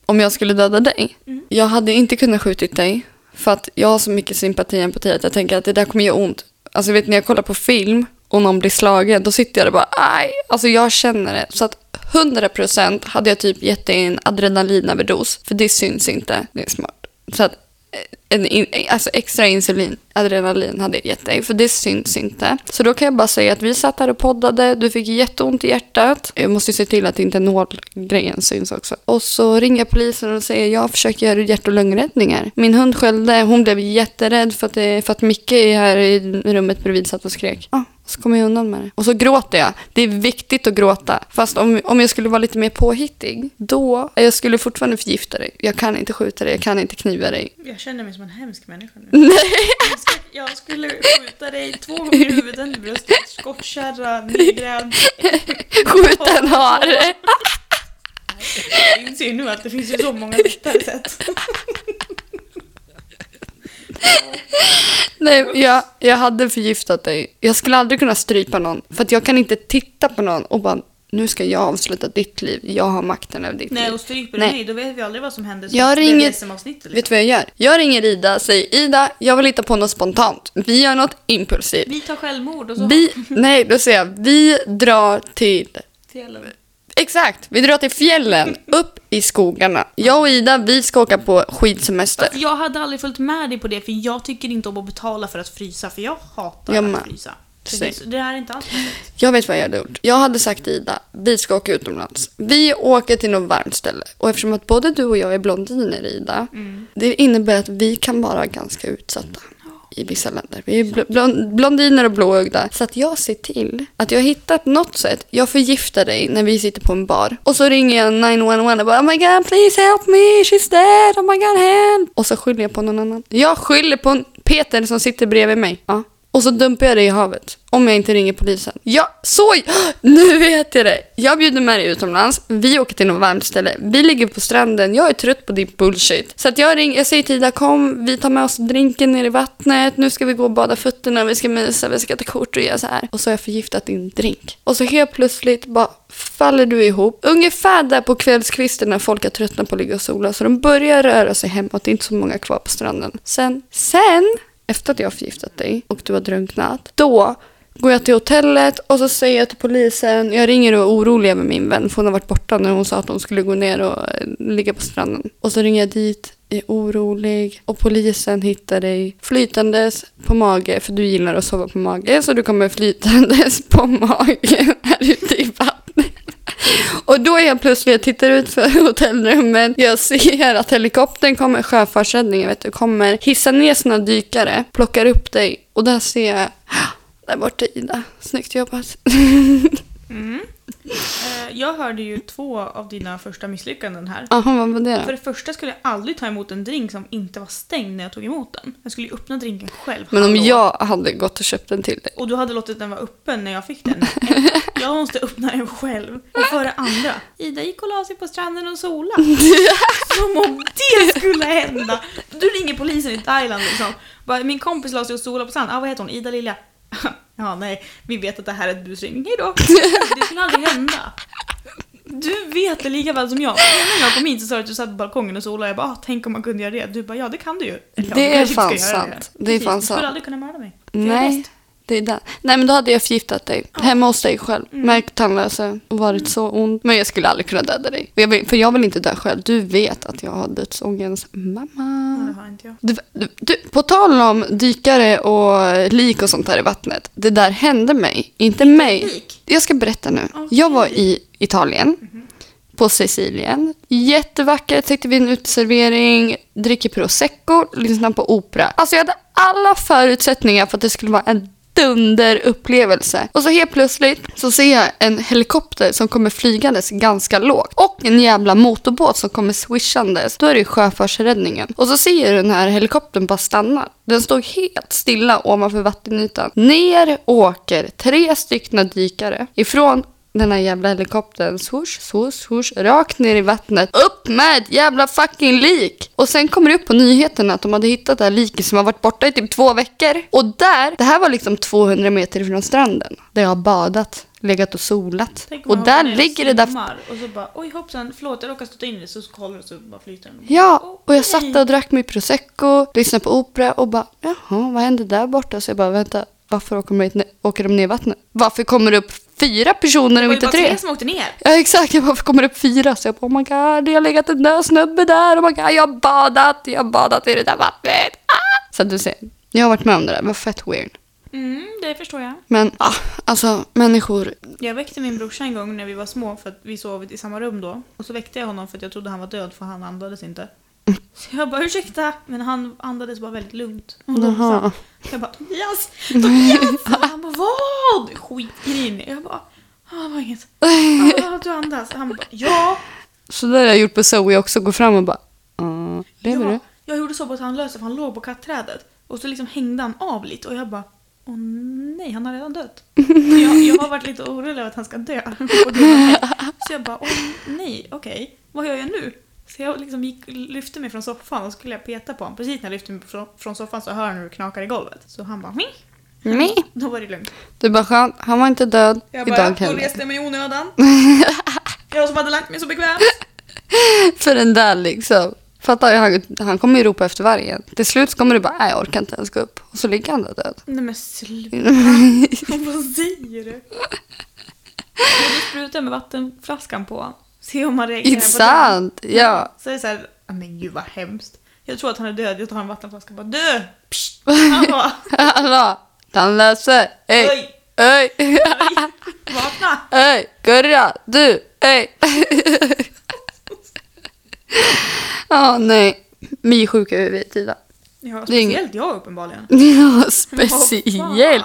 A: Om jag skulle döda dig?
B: Mm.
A: Jag hade inte kunnat skjutit dig. För att jag har så mycket sympati och empati att jag tänker att det där kommer göra ont. Alltså vet ni, när jag kollar på film och någon blir slagen, då sitter jag där och bara aj. Alltså jag känner det. Så att 100% hade jag typ gett dig en adrenalinöverdos. För det syns inte. Det är smart. Så att eh, en in, alltså extra insulin, adrenalin hade jag gett dig, för det syns inte. Så då kan jag bara säga att vi satt här och poddade, du fick jätteont i hjärtat. Jag måste ju se till att inte nålgrejen syns också. Och så ringer jag polisen och säger jag försöker göra hjärt och lungräddningar. Min hund skällde, hon blev jätterädd för att, det, för att Micke är här i rummet bredvid satt och skrek. Ah. Så kommer jag undan med det. Och så gråter jag. Det är viktigt att gråta. Fast om, om jag skulle vara lite mer påhittig, då... Jag skulle fortfarande förgifta dig. Jag kan inte skjuta dig, jag kan inte kniva dig.
B: Jag känner mig som en hemsk människa nu. Nej. Jag skulle skjuta dig två gånger i huvudet, en i bröstet, skottkärra, nedgrävd.
A: Skjut en hare!
B: Jag inser ju nu att det finns ju så många lättare sätt.
A: Nej, jag, jag hade förgiftat dig. Jag skulle aldrig kunna strypa någon. För att jag kan inte titta på någon och bara, nu ska jag avsluta ditt liv. Jag har makten över ditt
B: Nej,
A: liv.
B: och stryper du
A: Nej.
B: mig då vet vi aldrig vad som händer.
A: Jag ringer-
B: avsnittet liksom.
A: Vet du vad jag gör? Jag ringer Ida och säger Ida, jag vill hitta på något spontant. Vi gör något impulsivt.
B: Vi tar självmord och så...
A: Vi, nej, då säger jag, vi drar till
B: Fjällen.
A: Exakt, vi drar till fjällen, upp i skogarna. Jag och Ida, vi ska åka på skidsemester.
B: Fast jag hade aldrig följt med dig på det för jag tycker inte om att betala för att frysa för jag hatar
A: Jag med.
B: att frysa. Så det, är så- det här är inte alls roligt.
A: Jag vet vad jag hade gjort. Jag hade sagt till Ida, vi ska åka utomlands. Vi åker till något varmt ställe. Och eftersom att både du och jag är blondiner, Ida, det innebär att vi kan vara ganska utsatta i vissa länder. Vi är bl- blond- blondiner och blåögda. Så att jag ser till att jag hittat något sätt. Jag förgiftar dig när vi sitter på en bar. Och så ringer jag 911 och bara oh my god please help me, she's dead, oh my god help. Och så skyller jag på någon annan. Jag skyller på Peter som sitter bredvid mig. Ja. Och så dumpar jag dig i havet. Om jag inte ringer polisen. Ja, så! (gasps) Nu vet jag det! Jag bjuder med dig utomlands. Vi åker till något varmt ställe. Vi ligger på stranden. Jag är trött på din bullshit. Så att jag, ring, jag säger till Ida, kom. Vi tar med oss drinken ner i vattnet. Nu ska vi gå och bada fötterna. Vi ska mysa. Vi ska ta kort och göra så här. Och så har jag förgiftat din drink. Och så helt plötsligt bara faller du ihop. Ungefär där på kvällskvisten när folk har tröttnat på att ligga och sola. Så de börjar röra sig hemåt. Det är inte så många kvar på stranden. Sen, sen efter att jag har förgiftat dig och du har drunknat, då går jag till hotellet och så säger jag till polisen, jag ringer och är orolig över min vän för hon har varit borta när hon sa att hon skulle gå ner och eh, ligga på stranden. Och så ringer jag dit, är orolig och polisen hittar dig flytandes på mage för du gillar att sova på mage så du kommer flytandes på magen (laughs) här ute i vattnet. Och då är jag plötsligt, jag tittar ut för (laughs) hotellrummet, jag ser att helikoptern kommer, sjöfartsräddningen vet du, kommer hissa ner sina dykare, plockar upp dig (gasps) (laughs) och där ser jag, "Ah, där borta Ida, snyggt jobbat.
B: Mm. Eh, Jag hörde ju två av dina första misslyckanden här.
A: Jaha, vad var det
B: För
A: då?
B: det första skulle jag aldrig ta emot en drink som inte var stängd när jag tog emot den. Jag skulle ju öppna drinken själv.
A: Men om
B: hallå.
A: jag hade gått och köpt en till dig.
B: Och du hade låtit den vara öppen när jag
A: (laughs)
B: fick den. Jag måste öppna den själv. Och för det andra, Ida gick och la sig på stranden
A: (laughs)
B: och sola. Som om det skulle hända! Du ringer polisen i Thailand liksom. Bara, min kompis la sig och sola på stranden. Ah, vad heter hon? Ida Lilja? (laughs) Ja, nej, vi vet att det här är ett busringning. Hejdå! Det skulle aldrig hända. Du vet det lika väl som jag. När jag kom hit så sa du att du satt på balkongen och solade. Jag bara, ah, tänk om man kunde göra det. Du bara, ja det kan du ju. Eller, ja,
A: Det
B: du
A: är
B: kanske inte
A: fan
B: ska göra
A: sant. Det är
B: Precis,
A: fan
B: Du skulle
A: sant.
B: aldrig kunna mörda mig. För jag är
A: Nej,
B: bäst.
A: det är där. Nej men då hade jag förgiftat dig. Hemma hos dig själv. Märkt tandlösa och varit så ond. Men jag skulle aldrig kunna döda dig. Och Jag vill, för jag vill inte dö själv. Du vet att jag har dödsångest. Mamma.
B: Ja, det har inte jag.
A: Du, du, du, på tal om dykare och lik och sånt där i vattnet. Det där hände mig, inte mig.
B: lik?
A: Jag ska berätta nu.
B: Okej.
A: Jag var i Italien, på Sicilien. Jättevackert, sitter vid en uteservering, dricker prosecco, lyssnar på opera. Alltså jag hade alla förutsättningar för att det skulle vara en dunderupplevelse. Och så helt plötsligt så ser jag en helikopter som kommer flygandes ganska lågt och en jävla motorbåt som kommer swishandes. Då är det ju sjöfartsräddningen. Och så ser jag den här helikoptern bara stanna. Den stod helt stilla ovanför vattenytan. Ner åker tre stycken dykare ifrån den här jävla helikoptern, swoosh, swoosh, swoosh, rakt ner i vattnet. Upp med ett jävla fucking lik! Och sen kommer det upp på nyheterna att de hade hittat det här liket som har varit borta i typ två veckor. Och där, det här var liksom 200 meter från stranden, där jag har badat, legat och solat.
B: Tänk om
A: Och
B: man
A: där
B: hoppar ner
A: ligger det där...
B: simmar Och så bara oj hoppsan, förlåt jag råkade stå in i det så kollar du så bara flyter den.
A: Ja, och jag
B: Okej.
A: satt där och drack min prosecco, lyssnade på opera och bara jaha, vad hände där borta? Så jag bara vänta, varför åker de, hit ne- åker de ner i vattnet? Varför kommer det upp fyra personer och
B: Det var ju
A: inte
B: bara
A: tre?
B: tre som åkte ner.
A: Ja exakt, jag bara, varför kommer det upp fyra? Så jag bara, oh my god, det har legat en död snubbe där, oh my god, jag har badat, jag har badat i det där vattnet. Ah! Så att du ser, jag har varit med om det där, det var fett weird.
B: Mm, det förstår jag.
A: Men ah, alltså människor,
B: Jag väckte min brorsa en gång när vi var små för att vi sov i samma rum då. Och så väckte jag honom för att jag trodde han var död för han
A: (laughs)
B: andades inte. Så jag bara ursäkta, men han andades bara väldigt lugnt. Och då
A: Jaha.
B: sa- jag bara Tobias,
A: (laughs)
B: Tobias! Och han bara vad? Skitgrinig. Jag bara ah, det
A: (laughs)
B: var inget. Ah, du andas. Han bara ja.
A: så där har jag gjort på Zoe också, gå fram och bara, ah, lever
B: ja,
A: du?
B: Jag gjorde så på att han löste för han låg på katträdet. Och så liksom hängde han av lite och jag bara Åh nej, han har
A: (laughs)
B: redan dött. Jag, jag har varit lite orolig över att han ska dö. (laughs) Och det var- Så jag bara, åh nej, okej, vad gör jag nu? Så jag liksom gick, lyfte mig från soffan och skulle jag peta på honom. Precis när jag lyfte mig från, från soffan så hör han hur det knakar i golvet. Så han bara, "Ming."
A: Nej.
B: Då var det lugnt.
A: Mm. Du bara, skönt, han var inte död,
B: Jag bara,
A: idag
B: då
A: heller. (laughs)
B: reste jag mig i onödan. Jag som hade lagt mig så bekvämt.
A: För den där liksom. Fattar jag, han, han kommer ju ropa efter vargen. Till slut kommer du bara, nej jag orkar inte ens gå upp. Och så ligger han där död.
B: Nej
A: (laughs)
B: men sluta. (laughs) Vad säger du? Ska du spruta med vattenflaskan på? Se om han reagerar
A: Inte sant? Ja.
B: Så är det såhär, men gud vad hemskt. Jag tror att han är död, jag tar en vattenflaska och bara dö! Psst. Han
A: (laughs)
B: bara,
A: Hallå! Tandlöse! Ey!
B: oj,
A: Ey!
B: oj, vakna!
A: Ey! Gurra! Du! Ey! Ja, nej. Vi är sjuka i huvudet, Ida. (laughs)
B: Ja,
A: Det är inget-
B: speciellt jag uppenbarligen.
A: Ja,
B: Vad
A: speciellt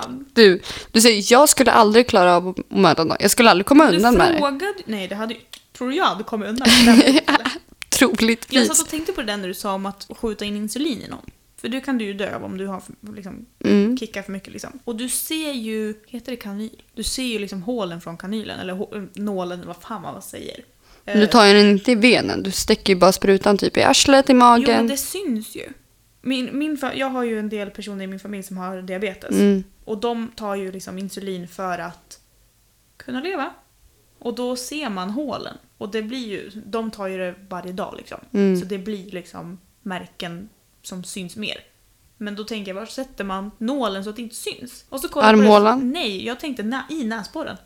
B: fan?
A: du. Du säger, jag skulle aldrig klara av att mörda någon. Jag skulle aldrig komma
B: Du
A: undan med det.
B: frågade... Nej, det hade ju... Tror du jag hade kommit undan med
A: (laughs)
B: det? Jag satt
A: Troligtvis.
B: och tänkte på det där när du sa om att skjuta in insulin i någon. För det kan du ju dö av om du har liksom,
A: Mm.
B: kickar för mycket. Liksom. Och du ser ju, heter det kanyl? Du ser ju liksom hålen från kanylen, eller hå- nålen, vad fan man säger. Eh,
A: Du tar ju den inte i benen. Du sticker ju bara sprutan typ i arslet, i
B: Eh, jo, men
A: magen.
B: det syns ju. Min, min fa- jag har ju en del personer i min familj som har diabetes.
A: Mm.
B: Och de tar ju liksom insulin för att kunna leva. Och då ser man hålen. Och det blir ju, de tar ju det varje dag liksom.
A: Mm.
B: Så det blir liksom märken som syns mer. Men då tänker jag, var sätter man nålen så att det inte syns? Och så kollar jag på det.
A: Armhålan?
B: Nej, jag tänkte na- i
A: (laughs)
B: näsborren.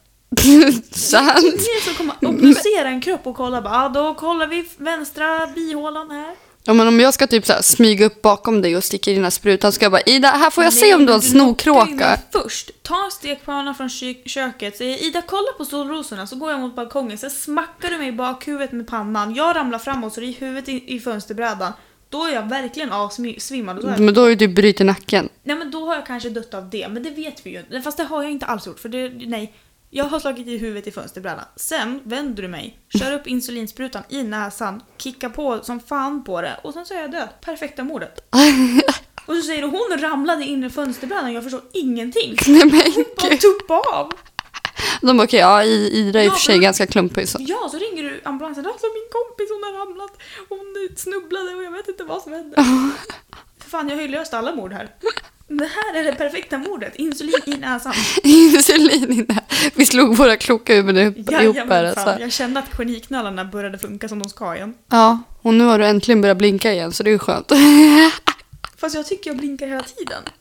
A: Sant.
B: Ingen som kommer obducera en kropp och kolla bara, ah, då kollar vi vänstra bihålan här.
A: Ja, men om jag ska typ så här, smyga upp bakom dig och sticka i dina sprutan ska jag bara Ida, här får jag
B: Nej,
A: se om du har en
B: men knockar ju mig
A: snokråka.
B: Först, ta stekpannan från ky- köket, säger Ida kolla på solrosorna, så går jag mot balkongen, sen smackar du mig i bakhuvudet med pannan, jag ramlar framåt så det är huvudet i, i fönsterbrädan. Då är jag verkligen avsvimmad. Och så har jag,
A: Men då är du brutit nacken. (laughs)
B: nej men då har jag kanske dött av det, men det vet vi ju inte. Fast det har jag inte alls gjort, för det, nej. Jag har slagit i huvudet i fönsterbrädan. Sen vänder du mig, kör upp insulinsprutan i näsan, kickar på som fan på det och sen så är jag död. Perfekta mordet. Och så säger du hon ramlade in i fönsterbrädan, jag förstår ingenting.
A: Nej men
B: Bara
A: gud.
B: tuppa av.
A: De bara, okej, ja, I- Ida är i och för sig
B: Ja, men-
A: ganska klumpig så. (laughs)
B: Ja, så ringer du ambulansen. Alltså min kompis hon har ramlat, hon snubblade och jag vet inte vad som hände. För fan, jag har ju löst alla mord här. Det här är det perfekta mordet. Insulin i näsan.
A: Insulin innan. Vi slog våra kloka huvuden ihop- ihop här. Alltså.
B: Jag kände att geniknölarna började funka som de ska igen.
A: Ja, och nu har du äntligen börjat blinka igen så det är ju skönt.
B: Fast jag tycker jag blinkar hela tiden.
A: (laughs)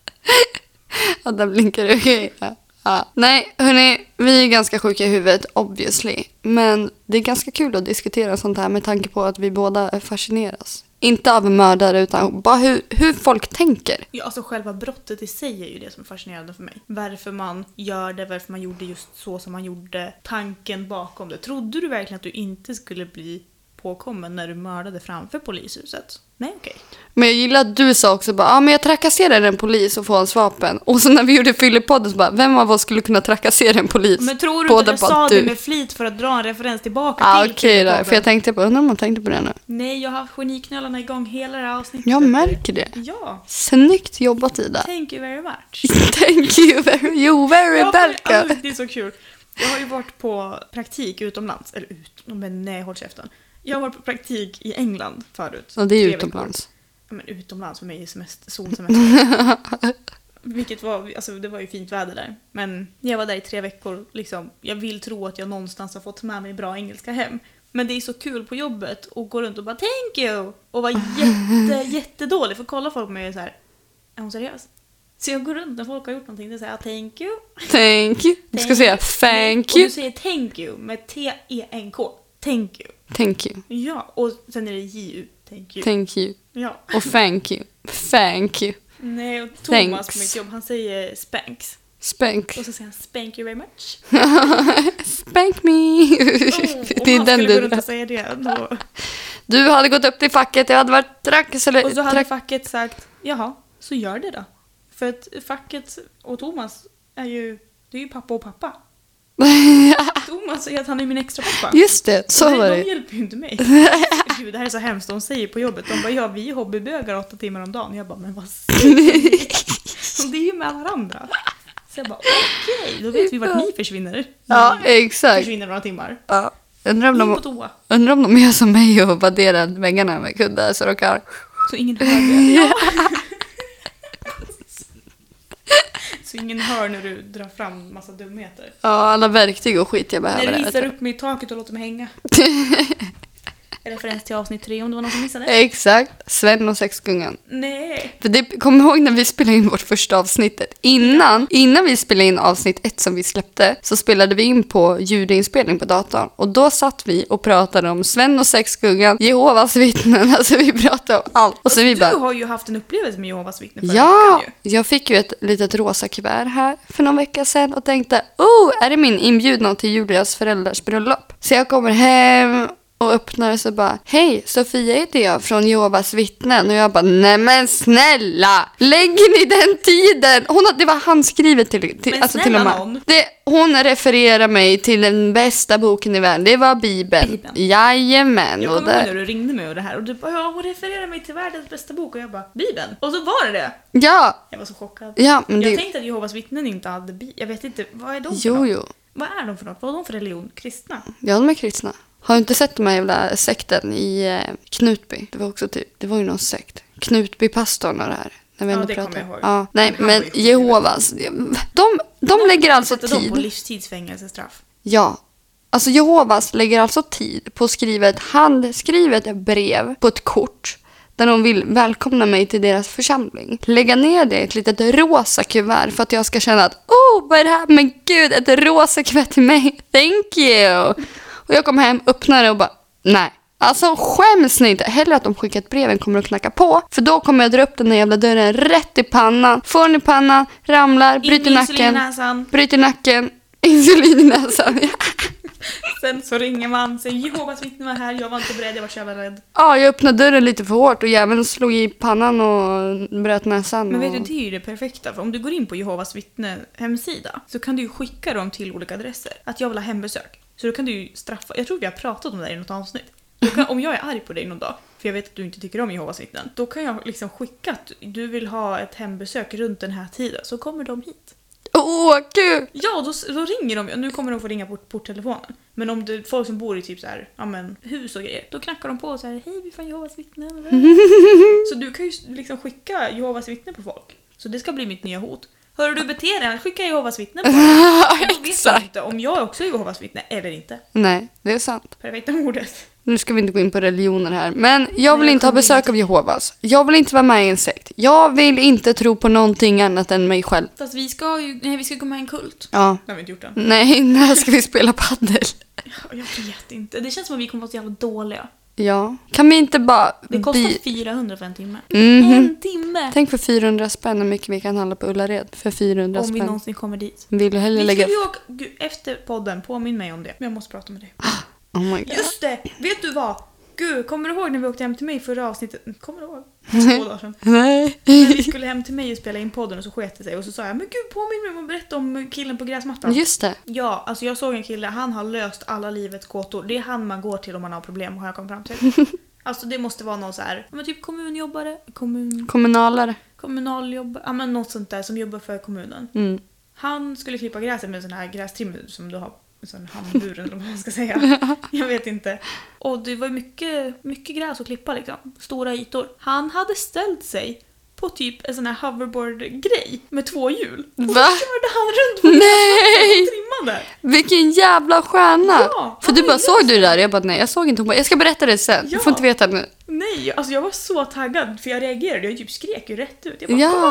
A: Ja, där blinkar du. Okej, Ja. Ja. Nej, hörni, vi är ganska sjuka i huvudet, obviously. Men det är ganska kul att diskutera sånt här med tanke på att vi båda fascineras. Inte av mördare, utan bara hur, hur folk tänker.
B: Ja, alltså själva brottet i sig är ju det som är fascinerande för mig. Varför man gör det, varför man gjorde just så som man gjorde, tanken bakom det. Trodde du verkligen att du inte skulle bli påkommen när du mördade framför polishuset? Nej, okej.
A: Men jag gillar att du sa också bara, ja men jag trakasserade en polis och får hans vapen. Och sen när vi gjorde fyllepodden så bara, vem av oss skulle kunna trakassera en polis?
B: Men tror du
A: Båda
B: inte jag
A: bara,
B: sa
A: du.
B: det med flit för att dra en referens tillbaka
A: Ja
B: till
A: okej då,
B: Killpodden?
A: för jag tänkte på, undrar om hon tänkte på det nu.
B: Nej, jag har haft geniknölarna igång hela det här avsnittet.
A: Jag märker det.
B: Ja,
A: Snyggt jobbat Ida.
B: thank you very much.
A: (laughs) Thank you very, you very
B: Ja, men,
A: welcome.
B: alltså, Det är så kul. Jag har ju varit på praktik utomlands. Eller ut, men nej håll käften. Jag har varit på praktik i England förut.
A: Ja, det är
B: Tre
A: utomlands.
B: veckor. Ja, men utomlands för mig är semester, solsemester.
A: (laughs)
B: Vilket var, alltså det var ju fint väder där. Men jag var där i tre veckor. Liksom, jag vill tro att jag någonstans har fått med mig bra engelska hem. Men det är så kul på jobbet och gå runt och bara “thank you” och
A: (laughs)
B: vara jätte, jättedålig. För kolla folk på mig och så här. är hon seriös? Så jag går runt när folk har gjort någonting och säger “thank you”
A: Thank you. Du ska säga thank
B: Och du
A: you.
B: säger thank you med T-E-N-K. Thank you.
A: Thank you.
B: Ja, och sen är det J-U. Thank you.
A: Thank you.
B: ja.
A: Och thank you. Thank you.
B: Nej, och Thomas
A: Thanks.
B: på mitt jobb, han säger spanks.
A: Spank.
B: Och så säger han spank you very much.
A: (laughs) Spank me.
B: Oh,
A: (laughs) det är
B: om han
A: den
B: skulle gå
A: du...
B: runt och säga det. Då.
A: Du hade gått upp till facket, jag hade varit trackis eller...
B: Och så hade (laughs)
A: track-
B: facket sagt, jaha, så gör det då. För att facket och Thomas är ju, det är ju pappa och pappa. Thomas säger att han är min extra pappa.
A: Just det, så
B: Nej,
A: var
B: de
A: det.
B: hjälper ju
A: (laughs)
B: inte mig. Gud, det här är så hemskt. De säger på jobbet, de bara ja vi är hobbybögar åtta timmar om dagen. Jag bara men vad säger ni? Det är ju med varandra. Så jag bara okej, då vet vi vart ni försvinner.
A: (laughs) Ja,
B: Ni
A: exakt.
B: försvinner några timmar.
A: Ja. Undrar, om
B: In på
A: de,
B: toa.
A: undrar om de gör som mig och vadderar väggarna med kuddar så de kan...
B: Så ingen hör det. Ja. (laughs) Så ingen hör när du drar fram massa dumheter.
A: Ja, alla verktyg och skit jag behöver.
B: När du
A: där,
B: hissar
A: vet
B: upp mig i taket och låter
A: (laughs)
B: mig hänga. Referens till avsnitt tre om det var någon som
A: du.
B: missade.
A: Exakt. Sven och sexgungan.
B: Nej.
A: För det, kom ihåg när vi spelade in vårt första avsnittet. Innan, innan vi spelade in avsnitt ett som vi släppte så spelade vi in på ljudinspelning på datorn. Och då satt vi och pratade om Sven och sexgungan, Jehovas vittnen, (laughs) alltså vi pratade om allt. Och sen vi
B: Du
A: bara...
B: har ju haft en upplevelse med Jehovas vittnen förra
A: Ja,
B: veckan ju.
A: jag fick ju ett litet rosa kuvert här för någon vecka sedan och tänkte oh, är det min inbjudan till Julias föräldrars bröllop? Så jag kommer hem och öppnar och så bara hej, Sofia heter jag från Jehovas vittnen och jag bara nej men snälla, lägger ni den tiden? Hon, har- det var handskrivet till, till,
B: Men
A: alltså, till
B: snälla
A: och med.
B: nån.
A: Det, hon refererar mig till den bästa boken i världen, det var Bibeln.
B: Bibeln.
A: Jajamän.
B: Jag
A: och
B: kommer
A: där-
B: ihåg när du ringde mig och det här och du bara ja, hon refererar mig till världens bästa bok och jag bara Bibeln. Och så var det det!
A: ja,
B: Jag var så chockad.
A: ja, men
B: jag
A: det...
B: tänkte att Jehovas vittnen inte hade bi. Jag vet inte, vad är de för
A: Jo,
B: något?
A: jo.
B: Vad är de för något? Vad är de för religion? Kristna?
A: Ja, de är kristna. Har du inte sett de här jävla sekten i eh, Knutby? Det var också typ, det var ju någon sekt. Knutbypastorn och det här. När vi
B: Ja,
A: ändå
B: det
A: pratar.
B: kommer jag ihåg.
A: Ja, nej,
B: Men han
A: men
B: var ju-
A: Jehovas. De, de, lägger alltså
B: Sätter de på
A: tid.
B: livstidsfängelsestraff?
A: Ja. Alltså Jehovas lägger alltså tid på att skriva ett handskrivet brev på ett kort där de vill välkomna mig till deras församling. Lägga ner det i ett litet rosa kuvert för att jag ska känna att oh, vad är det här? Men gud, ett rosa kuvert till mig. (laughs) Thank you! Och jag kom hem, öppnade det och bara nej. Alltså skäms ni inte? Hellre att de skickar ett brev än kommer att knacka på. För då kommer jag dra upp den där jävla dörren rätt i pannan. Får den i pannan, ramlar,
B: In
A: bryter
B: med insulin i
A: nacken. (laughs)
B: näsan.
A: Bryter nacken, insulin i näsan. Ja.
B: Sen så ringer man, säger Jehovas vittnen var här, jag var inte beredd, jag var så jävla rädd.
A: Ja, jag öppnade dörren lite för hårt och jäveln slog i pannan och bröt näsan.
B: Men
A: och...
B: vet du, det är ju det perfekta. För om du går in på Jehovas vittnen hemsida så kan du ju skicka dem till olika adresser. Att jag vill ha hembesök. Så då kan du ju straffa. Jag tror vi har pratat om det här i något avsnitt. Du kan, om jag är arg på dig någon dag, för jag vet att du inte tycker om Jehovas vittnen, då kan jag liksom skicka att du vill ha ett hembesök runt den här tiden, så kommer de hit.
A: Åh, gud!
B: Ja, då, då ringer de. Nu kommer de få ringa på porttelefonen. Men om det är folk som bor i typ så här, ja, men, hus och grejer, då knackar de på och så här “Hej, vi är från Jehovas (laughs) vittnen”. så du kan ju liksom skicka Jehovas vittnen på folk. Så det ska bli mitt nya hot. Hör du beter dig, annars skickar jag Jehovas (laughs) vittnen på dig. Men Då vet jag
A: Exakt.
B: inte om jag också är Jehovas vittne eller inte.
A: Nej, det är sant.
B: Perfekta ordet.
A: Nu ska vi inte gå in på religioner här, men jag vill
B: Nej,
A: inte ha
B: kom in.
A: besök av Jehovas. Jag vill inte vara med i en sekt. Jag vill inte tro på någonting annat än mig själv.
B: Fast vi ska ju, nej vi ska gå med i en kult.
A: Ja.
B: Det har vi inte gjort än.
A: Nej, (laughs) när ska vi spela paddel?
B: Ja, Jag vet inte. Det känns som att vi kommer vara så jävla dåliga.
A: Ja. Kan vi inte bara...
B: Det kostar
A: bi-
B: 400 för en timme. Mm-hmm.
A: Mhm.
B: En timme!
A: Tänk för 400 spänn hur mycket vi kan handla på Ullared. För 400
B: Om vi
A: spänn.
B: någonsin kommer dit.
A: Vill du hellre
B: Vi
A: lägga...
B: skulle ju åka, gud, efter podden, påminn mig om det. Men jag måste prata med dig.
A: (gasps) Oh my god.
B: Just det! Vet du vad? Gud, kommer du ihåg när vi åkte hem till mig i förra avsnittet? Mm, Kommer du ihåg? Två dagar sedan.
A: Nej.
B: När vi skulle hem till mig och spela in podden och så sket det sig och så sa jag men gud påminn mig om att berätta om killen på gräsmattan.
A: Just det.
B: Ja, alltså jag såg en kille, han har löst alla livets gåtor. Det är han man går till om man har problem har jag kommit fram till. Alltså det måste vara någon så här, ja, men typ kommunjobbare, kommun,
A: Kommunalare.
B: kommunaljobbare, ja men något sånt där som jobbar för kommunen.
A: Mm.
B: Han skulle klippa gräset med en sån här grästrimmer som du har en sån handburen eller vad man
A: (laughs)
B: ska säga. Jag vet inte. Och det var mycket, mycket gräs att klippa liksom. Stora ytor. Han hade ställt sig på typ en sån här hoverboard-grej med två hjul. Och så
A: Va?
B: körde han runt
A: (laughs)
B: på
A: Nej!
B: och trimmade.
A: Vilken jävla stjärna!
B: Ja,
A: För du
B: han
A: bara,
B: är
A: såg du det där? Jag bara, nej jag såg inte. Hon bara, jag ska berätta det sen. Du
B: Ja.
A: får inte veta nu.
B: Nej, alltså jag var så taggad för jag reagerade. Jag typ skrek ju rätt ut. Jag bara
A: Ja.
B: “Kolla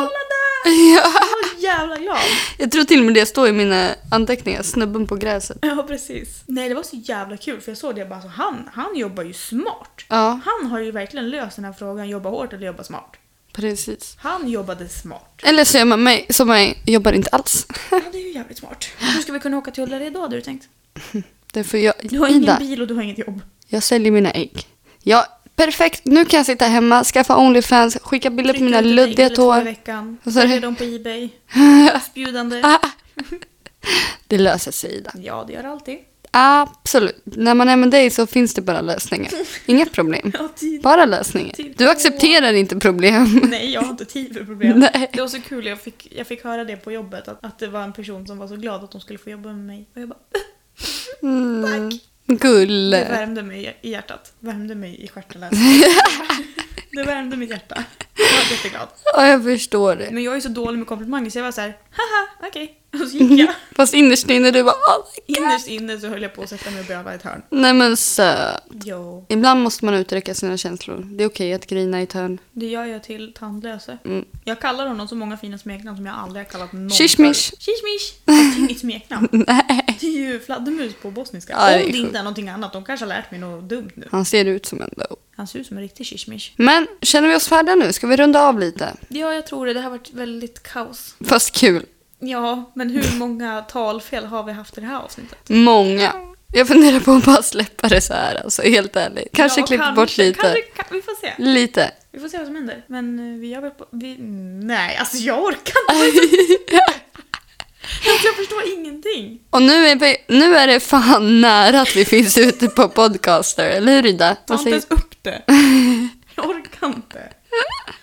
A: (laughs)
B: där!”
A: Ja.
B: Jag var så jävla glad. (laughs)
A: Jag tror till och med det står i mina anteckningar, snubben på gräset.
B: Ja, precis. Nej, det var så jävla kul för jag såg det. Jag bara, alltså, han, han jobbar ju smart.
A: Ja,
B: Han har ju verkligen löst den här frågan, jobba hårt eller jobba smart.
A: precis.
B: Han
A: (laughs)
B: jobbade smart.
A: Eller så är man mig som mig, jobbar inte alls.
B: Ja, det är ju jävligt smart. Hur ska vi kunna åka till Ullared då, hade du tänkt?
A: Därför jag,
B: Du har ingen
A: Ida,
B: bil och du har inget jobb.
A: jag säljer mina ägg. Ja, perfekt. Nu kan jag sitta hemma, skaffa Onlyfans, skicka bilder på
B: Trycka
A: mina
B: lite
A: luddiga
B: regler två i
A: tår. (laughs)
B: veckan.
A: Vad sa du?
B: Sälja dem
A: (laughs)
B: på Ebay. Bjudande.
A: Ah. Det löser sig, Ida.
B: Ja, det gör det alltid.
A: Absolut. När man är med dig så finns det bara lösningar. Inga problem.
B: Jag har tid.
A: Bara lösningar. Du accepterar inte problem.
B: Nej, jag har inte tid för problem.
A: (laughs) Nej.
B: Det var så kul, jag fick, jag fick höra det på jobbet, att, att det var en person som var så glad att de skulle få jobba med mig. Och jag bara,
A: Mm.
B: Tack. det
A: Gulle.
B: värmde mig i hjärtat. Värmde mig
A: (laughs)
B: i stjärten. det värmde mitt hjärta. Jag var jätteglad.
A: Ja, jag förstår det.
B: Men jag är så dålig med komplimanger så jag var så här, haha, okej. (laughs) Och så gick jag.
A: Fast innerst inne du bara, oh my god.
B: Innerst inne så höll jag på att sätta mig och böla i ett hörn.
A: Nej men söt.
B: Jo.
A: Ibland måste man uttrycka sina känslor. Det är okej att grina i ett hörn.
B: Det gör jag till tandlöse.
A: Mm.
B: Jag kallar honom så många fina smeknamn som jag aldrig har kallat någon
A: Shishmish.
B: förut. Shishmish! Det är inget smeknamn.
A: (laughs) Nej.
B: Det är ju fladdermus på bosniska.
A: Ja, det är
B: Om det
A: sjukt.
B: inte är någonting annat. De kanske har lärt mig något dumt nu.
A: Han ser ut som en då.
B: Han ser ut som en riktig shishmish.
A: Men känner vi oss färdiga nu? Ska vi runda av lite?
B: Ja, jag tror det. Det har varit väldigt kaos.
A: Fast kul.
B: Ja, men hur många talfel har vi haft i det här avsnittet?
A: Många. Jag funderar på att bara släppa det så här alltså, helt ärligt. Kanske
B: ja,
A: klippa
B: kanske,
A: bort lite.
B: Kanske, kan, vi får se.
A: Lite.
B: Vi får se vad som händer. Men eh, vi gör väl på... Vi, nej, alltså jag orkar inte. Alltså, jag förstår ingenting.
A: Och nu är, vi, nu är det fan (laughs) nära att vi finns ute på podcaster, eller hur Ida?
B: Ta
A: Vad
B: inte
A: säger-
B: ens upp det. Jag orkar inte.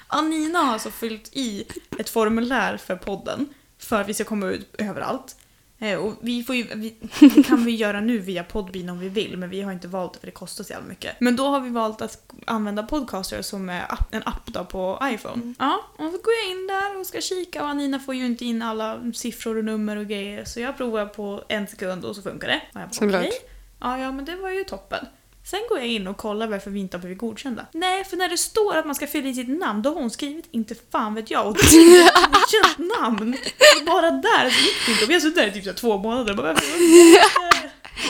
B: Anina har alltså fyllt i ett formulär för podden. För att vi ska komma ut överallt. Eh, Och vi får ju, vi, det kan vi göra nu via Podbean om vi vill, men vi har inte valt det för det kostar så jävla mycket. Men då har vi valt att använda Podcaster som är app- en app då på iPhone. Ja, och så går jag in där och ska kika och Anina får ju inte in alla siffror och nummer och grejer. Så jag provar på en sekund och så funkar det. Och jag bara,
A: Såklart.
B: okej. Ja, ja, men det var ju toppen. Sen går jag in och kollar varför vi inte har blivit godkända. Nej, för när det står att man ska fylla i sitt namn, då har hon skrivit inte fan vet jag och det är ett godkänt namn. Så bara där så gick det inte. Och Vi har suttit där i typ så här två månader och bara varför?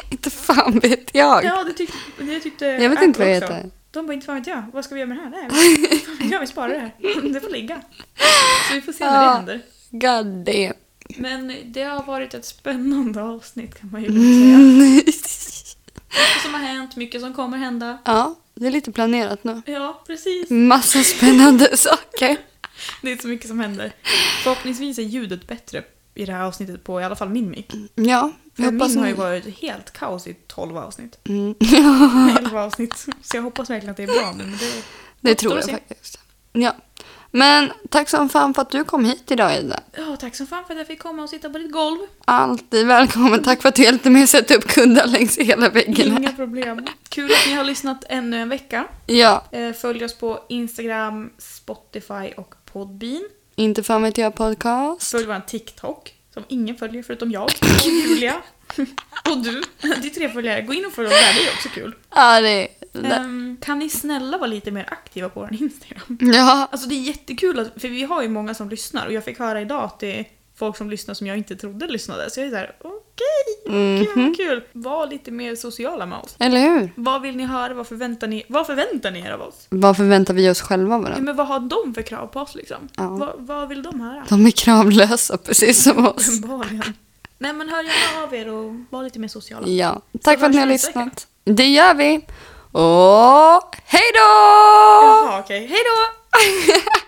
A: Inte fan vet jag.
B: Ja, det tyckte, det tyckte
A: jag vet inte vad jag
B: Apple också.
A: heter.
B: De bara inte fan vet jag, vad ska vi göra med det
A: (laughs)
B: här? Nej, fan vet jag, vi sparar det här. Det får ligga. Så vi får se när det
A: Ja.
B: händer.
A: God damn.
B: Men det har varit ett spännande avsnitt kan man ju lugnt säga. mycket som har hänt, mycket som kommer hända.
A: (laughs) Ja, det är lite planerat nu.
B: Ja, precis.
A: Massa spännande (laughs) saker.
B: (laughs) Det är så mycket som händer. Förhoppningsvis är ljudet bättre i det här avsnittet på i alla fall min mick.
A: Ja,
B: För
A: jag hoppas
B: min har ju
A: ni...
B: varit helt kaos i 12 avsnitt. (laughs)
A: Mm. (laughs)
B: 11 avsnitt. Så jag hoppas verkligen att det är bra nu. Men det...
A: Det tror
B: Återstår
A: jag
B: att se.
A: faktiskt. Ja. Men tack som fan för att du kom hit idag Ida.
B: Ja, tack så fan för att jag fick komma och sitta på ditt golv.
A: Alltid välkommen. Tack för att du hjälpte mig att sätta upp kuddar längs hela väggen. här.
B: Inga problem. Kul att ni har lyssnat ännu en vecka.
A: Ja,
B: Eh, Följ oss på Instagram, Spotify och Podbean.
A: inte fan vet jag podcast.
B: Följ vår TikTok, som ingen följer
A: (laughs)
B: förutom jag och Julia. (laughs) Och du, det är tre följare. Gå in och följ oss där, det är också kul.
A: Ja, det är...
B: Ehm, kan ni snälla vara lite mer aktiva på vår Instagram?
A: Ja,
B: Alltså det är jättekul, att, för vi har ju många som lyssnar och jag fick höra idag att det är folk som lyssnar som jag inte trodde lyssnade. Så jag är såhär, okej, okay,
A: Mhm.
B: kul. Var lite mer sociala med oss.
A: eller hur?
B: Vad vill ni höra? Vad förväntar ni, vad förväntar ni er av oss?
A: Vad förväntar vi oss själva av
B: Ja,
A: varandra?
B: men vad har de för krav på oss liksom?
A: Ja.
B: Vad, vad vill de höra?
A: De är kravlösa precis som oss.
B: Uppenbarligen. Nej men hör gärna av er och var lite mer sociala.
A: Ja, tack för att
B: hörs
A: ni har
B: vi nästa
A: lyssnat. Det gör vi. Och hej då! (laughs)
B: Jaha okej, hejdå!